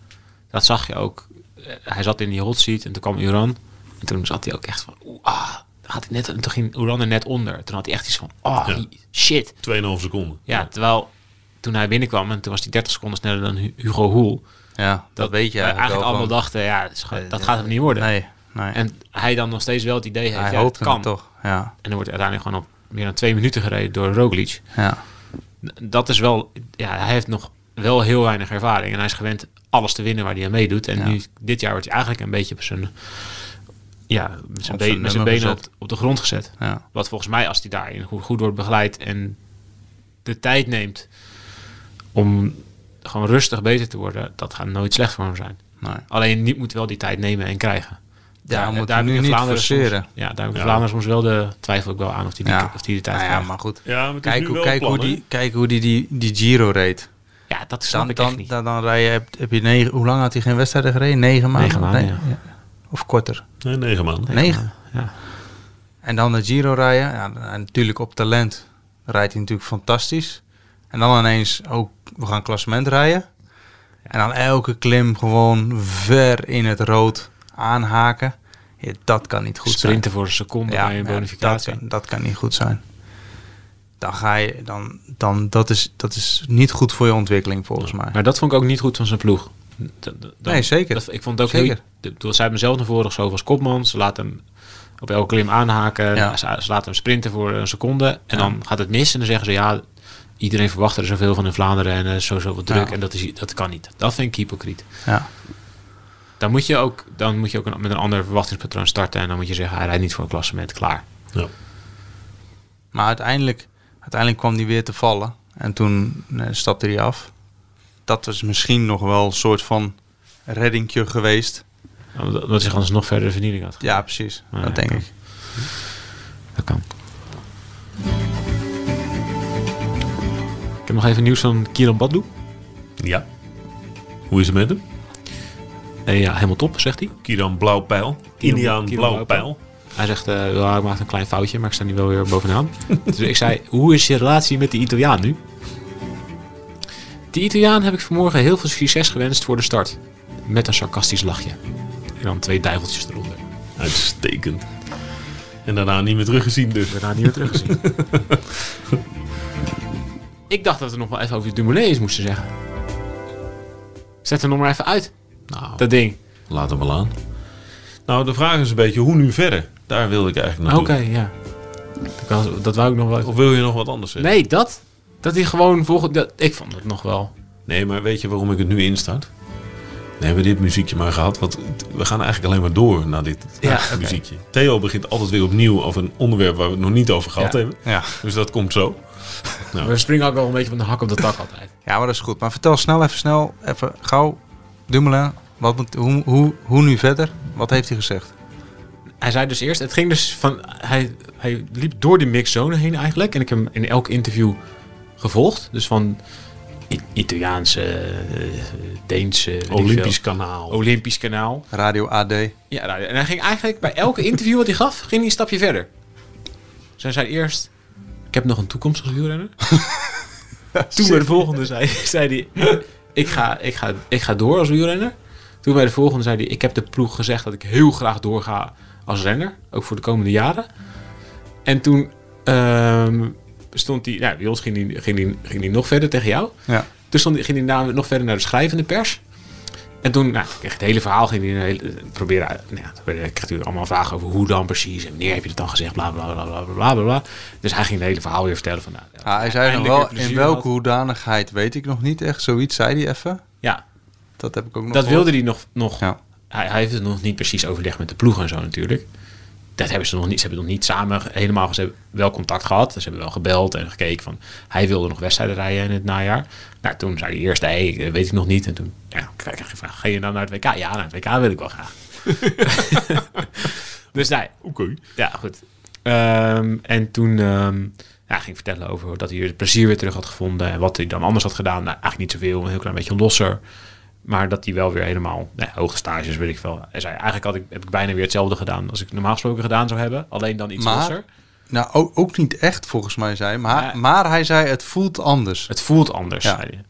Speaker 2: Dat zag je ook. Eh, Hij zat in die hot seat en toen kwam Uran. En toen zat hij ook echt van... Oeh, ah, had hij net, en toen ging Uran er net onder. Toen had hij echt iets van... Ah,
Speaker 3: Ja.
Speaker 2: hi- shit.
Speaker 3: 2,5 seconden.
Speaker 2: Ja, terwijl toen hij binnenkwam... en toen was hij 30 seconden sneller dan Hu- Hugo Hoel.
Speaker 4: Ja, dat, weet je
Speaker 2: wij
Speaker 4: eigenlijk,
Speaker 2: eigenlijk
Speaker 4: wel
Speaker 2: allemaal
Speaker 4: gewoon.
Speaker 2: dachten... Ja, dat is gewoon- dat
Speaker 4: Eh,
Speaker 2: gaat hem niet worden.
Speaker 4: Nee, nee.
Speaker 2: En hij dan nog steeds wel het idee heeft...
Speaker 4: hij
Speaker 2: ja,
Speaker 4: hoopt
Speaker 2: het kan.
Speaker 4: het toch. Ja,
Speaker 2: En dan wordt uiteindelijk gewoon op meer dan twee minuten gereden door Roglic.
Speaker 4: ja.
Speaker 2: N- Dat is wel... Ja, hij heeft nog wel heel weinig ervaring. En hij is gewend alles te winnen waar hij aan meedoet. En
Speaker 4: Ja.
Speaker 2: nu, dit jaar wordt hij eigenlijk een beetje op zijn... Ja, met zijn,
Speaker 4: Op zijn
Speaker 2: been- met
Speaker 4: nummer
Speaker 2: zijn benen op,
Speaker 4: gezet.
Speaker 2: op de grond gezet.
Speaker 4: ja.
Speaker 2: Wat volgens mij, als hij daarin goed, goed wordt begeleid en de tijd neemt om gewoon rustig bezig te worden, dat gaat nooit slecht voor hem zijn.
Speaker 4: Nee.
Speaker 2: Alleen niet moet wel die tijd nemen en krijgen.
Speaker 4: Ja,
Speaker 2: Daar-
Speaker 4: moet
Speaker 2: daar
Speaker 4: nu
Speaker 2: heb ik in
Speaker 4: niet
Speaker 2: Vlaanderen
Speaker 4: forceren.
Speaker 2: Soms, ja, daar heb ik in
Speaker 3: Ja.
Speaker 2: Vlaanderen soms wel de twijfel ik wel aan of die, die,
Speaker 4: Ja.
Speaker 2: of die de tijd
Speaker 4: Nou ja,
Speaker 2: krijgt.
Speaker 4: maar goed.
Speaker 3: Ja, maar het is
Speaker 4: Kijk
Speaker 3: nu
Speaker 4: hoe,
Speaker 3: wel
Speaker 4: kijk,
Speaker 3: plan,
Speaker 4: hoe
Speaker 3: hè?
Speaker 4: die, kijk hoe die, die, die Giro reed.
Speaker 2: Ja, dat snap
Speaker 4: Dan,
Speaker 2: ik echt
Speaker 4: dan,
Speaker 2: niet.
Speaker 4: dan, dan rij je, heb, heb je negen, hoe lang had hij geen wedstrijden gereden? Negen maanden?
Speaker 2: Negen maanden,
Speaker 4: Nee, Of korter?
Speaker 3: Nee, negen maanden.
Speaker 4: Negen.
Speaker 2: ja.
Speaker 4: En dan de Giro rijden. Ja, en natuurlijk op talent rijdt hij natuurlijk fantastisch. En dan ineens ook, we gaan klassement rijden. En dan elke klim gewoon ver in het rood aanhaken. Ja, dat kan niet goed zijn.
Speaker 2: Sprinten voor een seconde bij een bonificatie.
Speaker 4: Dat, kan, dat kan niet goed zijn. Dan ga je, dan, dan, dat, is, dat is niet goed voor je ontwikkeling volgens mij.
Speaker 2: Maar dat vond ik ook niet goed van zijn ploeg. Dat- dat-
Speaker 4: Nee, zeker.
Speaker 2: dat- ik vond het ook
Speaker 4: Zeker.
Speaker 2: heel... de- bedoel, Zij hebben hem zelf naar voren geschoven als kopman. Ze laten hem op elke klim aanhaken.
Speaker 4: Ja.
Speaker 2: Ze, ze laten hem sprinten voor een seconde. En dan gaat het mis. En dan zeggen ze, ja, iedereen verwacht er zoveel van in Vlaanderen. En eh, sowieso wat druk.
Speaker 4: Ja.
Speaker 2: En dat, is, dat kan niet. Dat vind ik hypocriet.
Speaker 4: Ja,
Speaker 2: Dan moet je ook, dan moet je ook een- met een ander verwachtingspatroon starten. En dan moet je zeggen, hij rijdt niet voor een klassement. Klaar.
Speaker 3: Ja.
Speaker 4: maar uiteindelijk, uiteindelijk kwam hij weer te vallen. En toen eh, stapte hij af. Dat was misschien nog wel een soort van reddingje geweest.
Speaker 2: Omdat omdat hij anders nog verder de vernieling had.
Speaker 4: Ja, precies.
Speaker 2: Ja,
Speaker 4: dat denk
Speaker 2: ja.
Speaker 4: ik.
Speaker 2: Dat kan. Ik heb nog even nieuws van Kieran Baddoe.
Speaker 3: Ja. Hoe is het met hem?
Speaker 2: Eh, ja, helemaal top, zegt hij.
Speaker 3: Kiran Blauwpijl. Indiaan
Speaker 2: Kiran
Speaker 3: Blauwpijl.
Speaker 2: Hij zegt, eh ja, ik maak een klein foutje, maar ik sta nu wel weer bovenaan. dus ik zei, hoe is je relatie met de Italiaan nu? De Italiaan heb ik vanmorgen heel veel succes gewenst voor de start. Met een sarcastisch lachje. En dan twee duiveltjes eronder.
Speaker 3: Uitstekend. En daarna niet meer teruggezien dus.
Speaker 2: Daarna niet meer teruggezien. Ik dacht dat we nog wel even over de Dumouline's moesten zeggen. Zet hem nog maar even uit,
Speaker 3: Nou,
Speaker 2: dat ding.
Speaker 3: laat hem wel aan. Nou, de vraag is een beetje hoe nu verder. Daar wilde ik eigenlijk
Speaker 2: Oké,
Speaker 3: naartoe.
Speaker 2: ja. Dat, kan- dat wou ik nog wel even...
Speaker 3: Of wil je nog wat anders zeggen?
Speaker 2: Nee, dat. Dat hij gewoon volgend... dat- Ik vond het nog wel...
Speaker 3: Nee, maar weet je waarom ik het nu instart? We hebben dit muziekje maar gehad, want het- we gaan eigenlijk alleen maar door naar dit
Speaker 2: Ja,
Speaker 3: naar dit
Speaker 2: oké.
Speaker 3: muziekje. Theo begint altijd weer opnieuw over een onderwerp waar we het nog niet over gehad
Speaker 2: Ja.
Speaker 3: hebben.
Speaker 4: Ja.
Speaker 3: Dus dat komt zo.
Speaker 2: We springen ook wel een beetje van de hak op de tak altijd.
Speaker 4: ja, maar dat is goed. Maar vertel snel even snel, even gauw, Dumoulin, wat moet, hoe, hoe, hoe nu verder? Wat heeft hij gezegd?
Speaker 2: Hij zei dus eerst... Het ging dus van... Hij, hij liep door die mixzone heen eigenlijk. En ik heb hem in elk interview gevolgd. Dus van... I- Italiaanse, eh, Deense... weet ik
Speaker 3: Olympisch
Speaker 2: veel.
Speaker 3: kanaal.
Speaker 2: Olympisch kanaal.
Speaker 4: Radio AD.
Speaker 2: Ja, nou, en hij ging eigenlijk bij elke interview wat hij gaf, ging hij een stapje verder. Dus hij zei eerst, ik heb nog een toekomst als wielrenner. Toen bij de volgende zei, zei hij, ik ga, ik, ga, ik ga door als wielrenner. Toen bij de volgende zei hij, ik heb de ploeg gezegd dat ik heel graag doorga als renner. Ook voor de komende jaren. En toen ehm, stond hij, nou, bij ons ging hij, ging, hij, ging hij nog verder tegen jou.
Speaker 4: Ja.
Speaker 2: Toen stond, Dus ging hij na- nog verder naar de schrijvende pers. En toen, nou, kreeg het hele verhaal ging hij een hele, proberen uit. Nou, ja, toen werd- kreeg hij allemaal vragen over hoe dan precies en wanneer heb je het dan gezegd, bla bla bla bla bla bla. bla. Dus hij ging het hele verhaal weer vertellen van. Nou,
Speaker 4: Ah, hij zei nog
Speaker 2: eindelijk
Speaker 4: wel,
Speaker 2: weer plezier
Speaker 4: in welke
Speaker 2: gehad.
Speaker 4: hoedanigheid weet ik nog niet echt. Zoiets zei hij even.
Speaker 2: Ja,
Speaker 4: Dat heb ik ook nog
Speaker 2: dat
Speaker 4: gehoord.
Speaker 2: wilde hij nog. nog
Speaker 4: Ja.
Speaker 2: hij, hij heeft het nog niet precies overlegd met de ploeg en zo natuurlijk. Dat hebben ze nog niet. Ze hebben nog niet samen ge- helemaal. Ze hebben wel contact gehad. Ze hebben wel gebeld en gekeken van. Hij wilde nog wedstrijden rijden in het najaar. Nou, toen zei hij eerst, nee, eh, weet ik nog niet. En toen ja, kreeg ik gevraagd: ga je nou naar het WK? Ja, naar het WK wil ik wel graag. dus nee,
Speaker 3: Oké.
Speaker 2: ja, goed. Ehm, en toen ehm ja, ging ik vertellen over dat hij weer het plezier weer terug had gevonden. En wat hij dan anders had gedaan. Nou, eigenlijk niet zoveel, een heel klein beetje losser. Maar dat hij wel weer helemaal nou, ja, hoge stages, weet ik veel. Hij zei, eigenlijk had ik, heb ik bijna weer hetzelfde gedaan als ik normaal gesproken gedaan zou hebben. Alleen dan iets
Speaker 4: Maar-
Speaker 2: losser.
Speaker 4: Nou, ook, ook niet echt volgens mij zei hij. Maar,
Speaker 2: Ja.
Speaker 4: maar hij zei, het voelt anders.
Speaker 2: Het voelt anders,
Speaker 4: Ja.
Speaker 2: zei hij.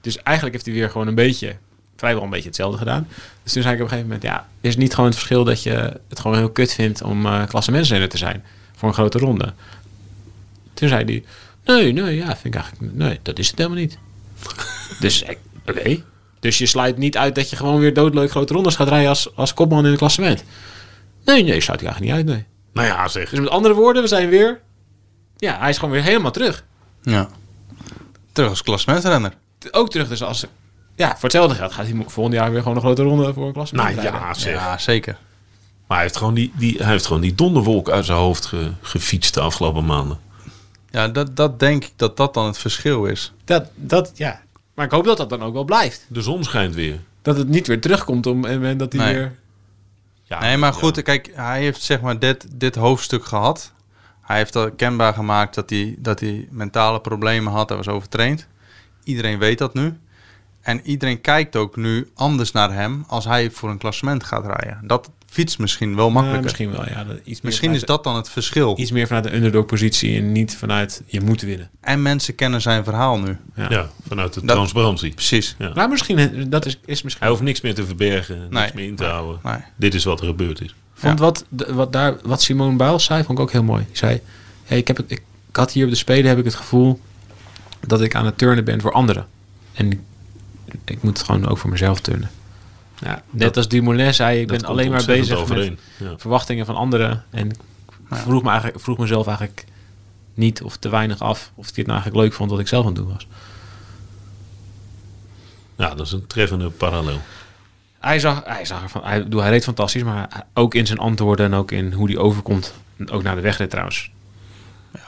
Speaker 2: Dus eigenlijk heeft hij weer gewoon een beetje, vrijwel een beetje hetzelfde gedaan. Dus toen zei ik op een gegeven moment, ja, is het niet gewoon het verschil dat je het gewoon heel kut vindt om eh klassementsrenner te zijn voor een grote ronde? Toen zei hij, nee, nee, ja, vind ik eigenlijk, nee, dat is het helemaal niet. dus ik, oké. Dus je sluit niet uit dat je gewoon weer doodleuk grote rondes gaat rijden als, als kopman in het klassement. Nee, nee, sluit ik eigenlijk niet uit, nee.
Speaker 3: Nou ja, zeg.
Speaker 2: Dus met andere woorden, we zijn weer, ja, hij is gewoon weer helemaal terug.
Speaker 4: Ja. Terug als klassementrenner.
Speaker 2: ook terug. Dus als, ja, voor hetzelfde geld gaat hij mo- volgend jaar weer gewoon een grote ronde voor een klasse.
Speaker 3: Nou
Speaker 2: rijden.
Speaker 3: ja, zeg.
Speaker 4: Ja, zeker.
Speaker 3: Maar hij heeft, gewoon die, die, hij heeft gewoon die donderwolk uit zijn hoofd ge- gefietst de afgelopen maanden.
Speaker 4: Ja, dat, dat denk ik dat dat dan het verschil is.
Speaker 2: Dat, dat, ja. Maar ik hoop dat dat dan ook wel blijft.
Speaker 3: De zon schijnt weer.
Speaker 2: Dat het niet weer terugkomt om, en, en dat hij
Speaker 4: Nee.
Speaker 2: weer... eh,
Speaker 3: Ja,
Speaker 4: nee, maar goed, kijk, hij heeft zeg maar dit, dit hoofdstuk gehad. Hij heeft al kenbaar gemaakt dat hij, dat hij mentale problemen had. Hij was overtraind. Iedereen weet dat nu. En iedereen kijkt ook nu anders naar hem als hij voor een klassement gaat rijden. Dat fietst misschien wel makkelijker.
Speaker 2: Ja,
Speaker 4: misschien
Speaker 2: misschien wel, ja. dat- iets meer
Speaker 4: is
Speaker 2: vanuit
Speaker 4: dat dan het verschil.
Speaker 2: de- Iets meer vanuit de underdog positie en niet vanuit je moet winnen.
Speaker 4: En mensen kennen zijn verhaal nu.
Speaker 3: Ja, vanuit de
Speaker 4: Dat-
Speaker 3: transparantie.
Speaker 4: Precies.
Speaker 3: Ja.
Speaker 2: Maar Nou, misschien, dat is, is misschien...
Speaker 3: Hij hoeft niks meer te verbergen, niks
Speaker 4: Nee.
Speaker 3: meer in te houden.
Speaker 4: Nee.
Speaker 3: Dit is wat er gebeurd is.
Speaker 2: vond wat, de- wat, daar, wat Simone Biles zei, vond ik ook heel mooi. Die zei, hey, ik, heb het, ik, ik had hier op de Spelen heb ik het gevoel dat ik aan het turnen ben voor anderen. En ik, ik moet gewoon ook voor mezelf turnen. Ja, net als Dumoulin zei, ik
Speaker 3: Dat
Speaker 2: ben
Speaker 3: komt
Speaker 2: alleen maar
Speaker 3: ontzettend
Speaker 2: bezig
Speaker 3: overeen.
Speaker 2: met
Speaker 3: Ja.
Speaker 2: verwachtingen van anderen. En ik vroeg, me eigenlijk, vroeg mezelf eigenlijk niet of te weinig af of ik dit nou eigenlijk leuk vond wat ik zelf aan het doen was.
Speaker 3: ja, dat is een treffende parallel.
Speaker 2: Hij zag, hij zag er van, hij, bedoel, hij reed fantastisch, maar hij- ook in zijn antwoorden en ook in hoe hij overkomt, ook naar de wegrit trouwens.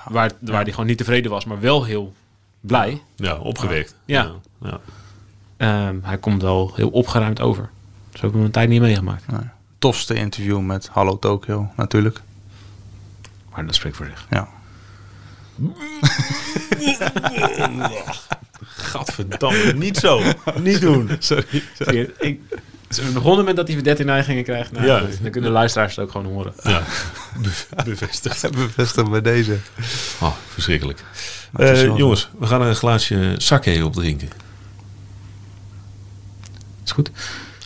Speaker 2: Waar, waar hij gewoon niet tevreden was, maar wel heel blij.
Speaker 3: Ja, opgewekt.
Speaker 2: Ja.
Speaker 3: ja. ja.
Speaker 2: Ehm, hij komt wel heel opgeruimd over. Zo heb ik mijn tijd niet meegemaakt.
Speaker 4: Nee. Tofste interview met Hallo Tokyo natuurlijk.
Speaker 2: Maar dat spreekt voor zich.
Speaker 4: Ja.
Speaker 3: Gadverdamme, niet zo. Niet doen. Sorry.
Speaker 2: Ik, we begonnen met dat hij 13 neigingen krijgt. Nou,
Speaker 3: Ja.
Speaker 2: goed, Dan kunnen de luisteraars het ook gewoon horen.
Speaker 3: Ja, Be- bevestigd.
Speaker 4: Bevestigd bij deze.
Speaker 3: Oh, verschrikkelijk.
Speaker 4: Maar het is
Speaker 3: Eh,
Speaker 4: wel-
Speaker 3: jongens, we gaan een glaasje sake opdrinken.
Speaker 2: Is goed.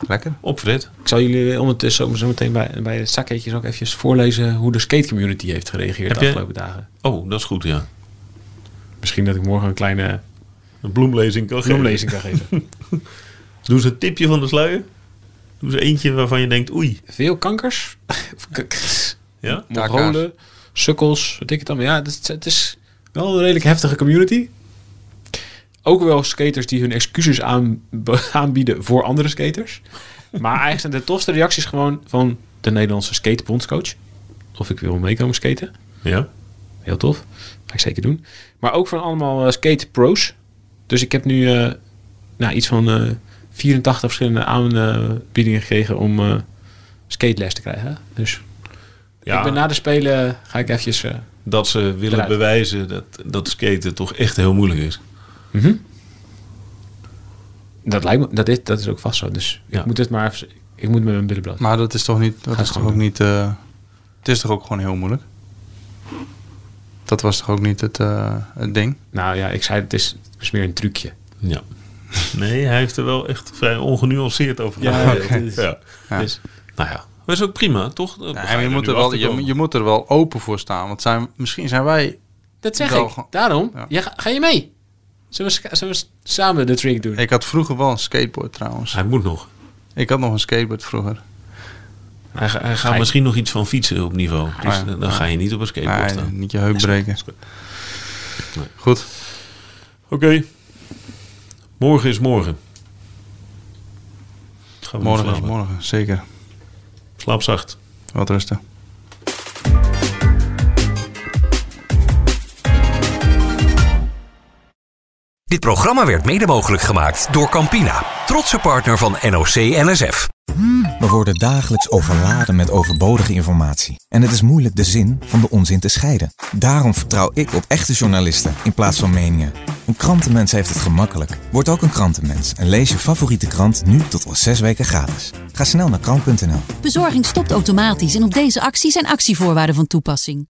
Speaker 4: Lekker.
Speaker 3: Op Fred.
Speaker 2: Ik zal jullie ondertussen zo meteen bij, bij de zaketjes ook eventjes voorlezen hoe de skate community heeft gereageerd
Speaker 3: Heb
Speaker 2: de
Speaker 3: je-
Speaker 2: afgelopen dagen.
Speaker 3: Oh, dat is goed, ja.
Speaker 2: Misschien dat ik morgen een kleine
Speaker 3: een bloemlezing kan geven.
Speaker 2: bloemlezing kan geven.
Speaker 3: Doe ze een tipje van de sluier. Doe ze eentje waarvan je denkt, oei.
Speaker 2: Veel kankers. Of k- k-
Speaker 3: Ja?
Speaker 2: Mongolen, sukkels, wat ik het allemaal. Ja, het is, het is wel een redelijk heftige community. Ook wel skaters die hun excuses aan, aanbieden voor andere skaters. Maar eigenlijk zijn de tofste reacties gewoon van de Nederlandse skatebondscoach. Of ik wil meekomen skaten.
Speaker 3: Ja.
Speaker 2: Heel tof. Ga ik zeker doen. Maar ook van allemaal eh, skate pro's. Dus ik heb nu eh, nou, iets van eh, 84 verschillende aanbiedingen gekregen om eh skateles te krijgen. Dus
Speaker 3: ja.
Speaker 2: ik ben na de spelen ga ik eventjes... eh,
Speaker 3: dat ze willen
Speaker 2: Eruit.
Speaker 3: bewijzen dat, dat skaten toch echt heel moeilijk is.
Speaker 2: dat lijkt me, dat is, dat is ook vast zo. Dus
Speaker 3: Ja.
Speaker 2: ik moet het maar even, ik moet met mijn billen bloot.
Speaker 4: Maar dat is toch niet. Dat
Speaker 2: het
Speaker 4: is toch
Speaker 2: gewoon
Speaker 4: ook niet. eh, het is toch ook gewoon heel moeilijk. Dat was toch ook niet het, eh, het ding.
Speaker 2: Nou ja, ik zei het is, het is meer een trucje.
Speaker 3: Ja. Nee, hij heeft er wel echt vrij ongenuanceerd over
Speaker 2: Ja,
Speaker 3: gepraat.
Speaker 2: oké.
Speaker 3: ja.
Speaker 4: Ja.
Speaker 3: Dus, nou ja, dat is ook prima, toch? Dat
Speaker 4: Ja,
Speaker 3: ga
Speaker 4: en je,
Speaker 3: er
Speaker 4: moet
Speaker 3: nu
Speaker 4: er wel,
Speaker 3: achter
Speaker 4: je,
Speaker 3: komen.
Speaker 4: je moet er wel open voor staan. Want zijn, misschien zijn wij.
Speaker 2: Dat zeg
Speaker 4: Wel
Speaker 2: ik.
Speaker 4: gewoon-
Speaker 2: Daarom,
Speaker 4: ja.
Speaker 2: jij ga, ga je mee? Zullen we, ska- zullen we s- samen de trick doen?
Speaker 4: Ik had vroeger wel een skateboard trouwens.
Speaker 3: Hij moet nog.
Speaker 4: Ik had nog een skateboard vroeger.
Speaker 3: Hij, ga- hij gaat
Speaker 2: Ga je-
Speaker 3: misschien nog iets van fietsen op niveau. Dus
Speaker 4: Ah, ja.
Speaker 3: dan ga je niet op een skateboard
Speaker 4: eh. Nee,
Speaker 3: staan.
Speaker 4: niet je heup breken.
Speaker 3: Nee.
Speaker 4: Goed.
Speaker 3: Oké. Morgen is morgen. Gaan we
Speaker 4: Morgen is
Speaker 3: slapen.
Speaker 4: morgen, zeker.
Speaker 3: Slaap zacht.
Speaker 4: Wat rusten.
Speaker 1: Dit programma werd mede mogelijk gemaakt door Campina, trotse partner van NOC NSF.
Speaker 5: We worden dagelijks overladen met overbodige informatie. En het is moeilijk de zin van de onzin te scheiden. Daarom vertrouw ik op echte journalisten in plaats van meningen. Een krantenmens heeft het gemakkelijk. Word ook een krantenmens en lees je favoriete krant nu tot al zes weken gratis. Ga snel naar krant.nl.
Speaker 6: Bezorging stopt automatisch en op deze actie zijn actievoorwaarden van toepassing.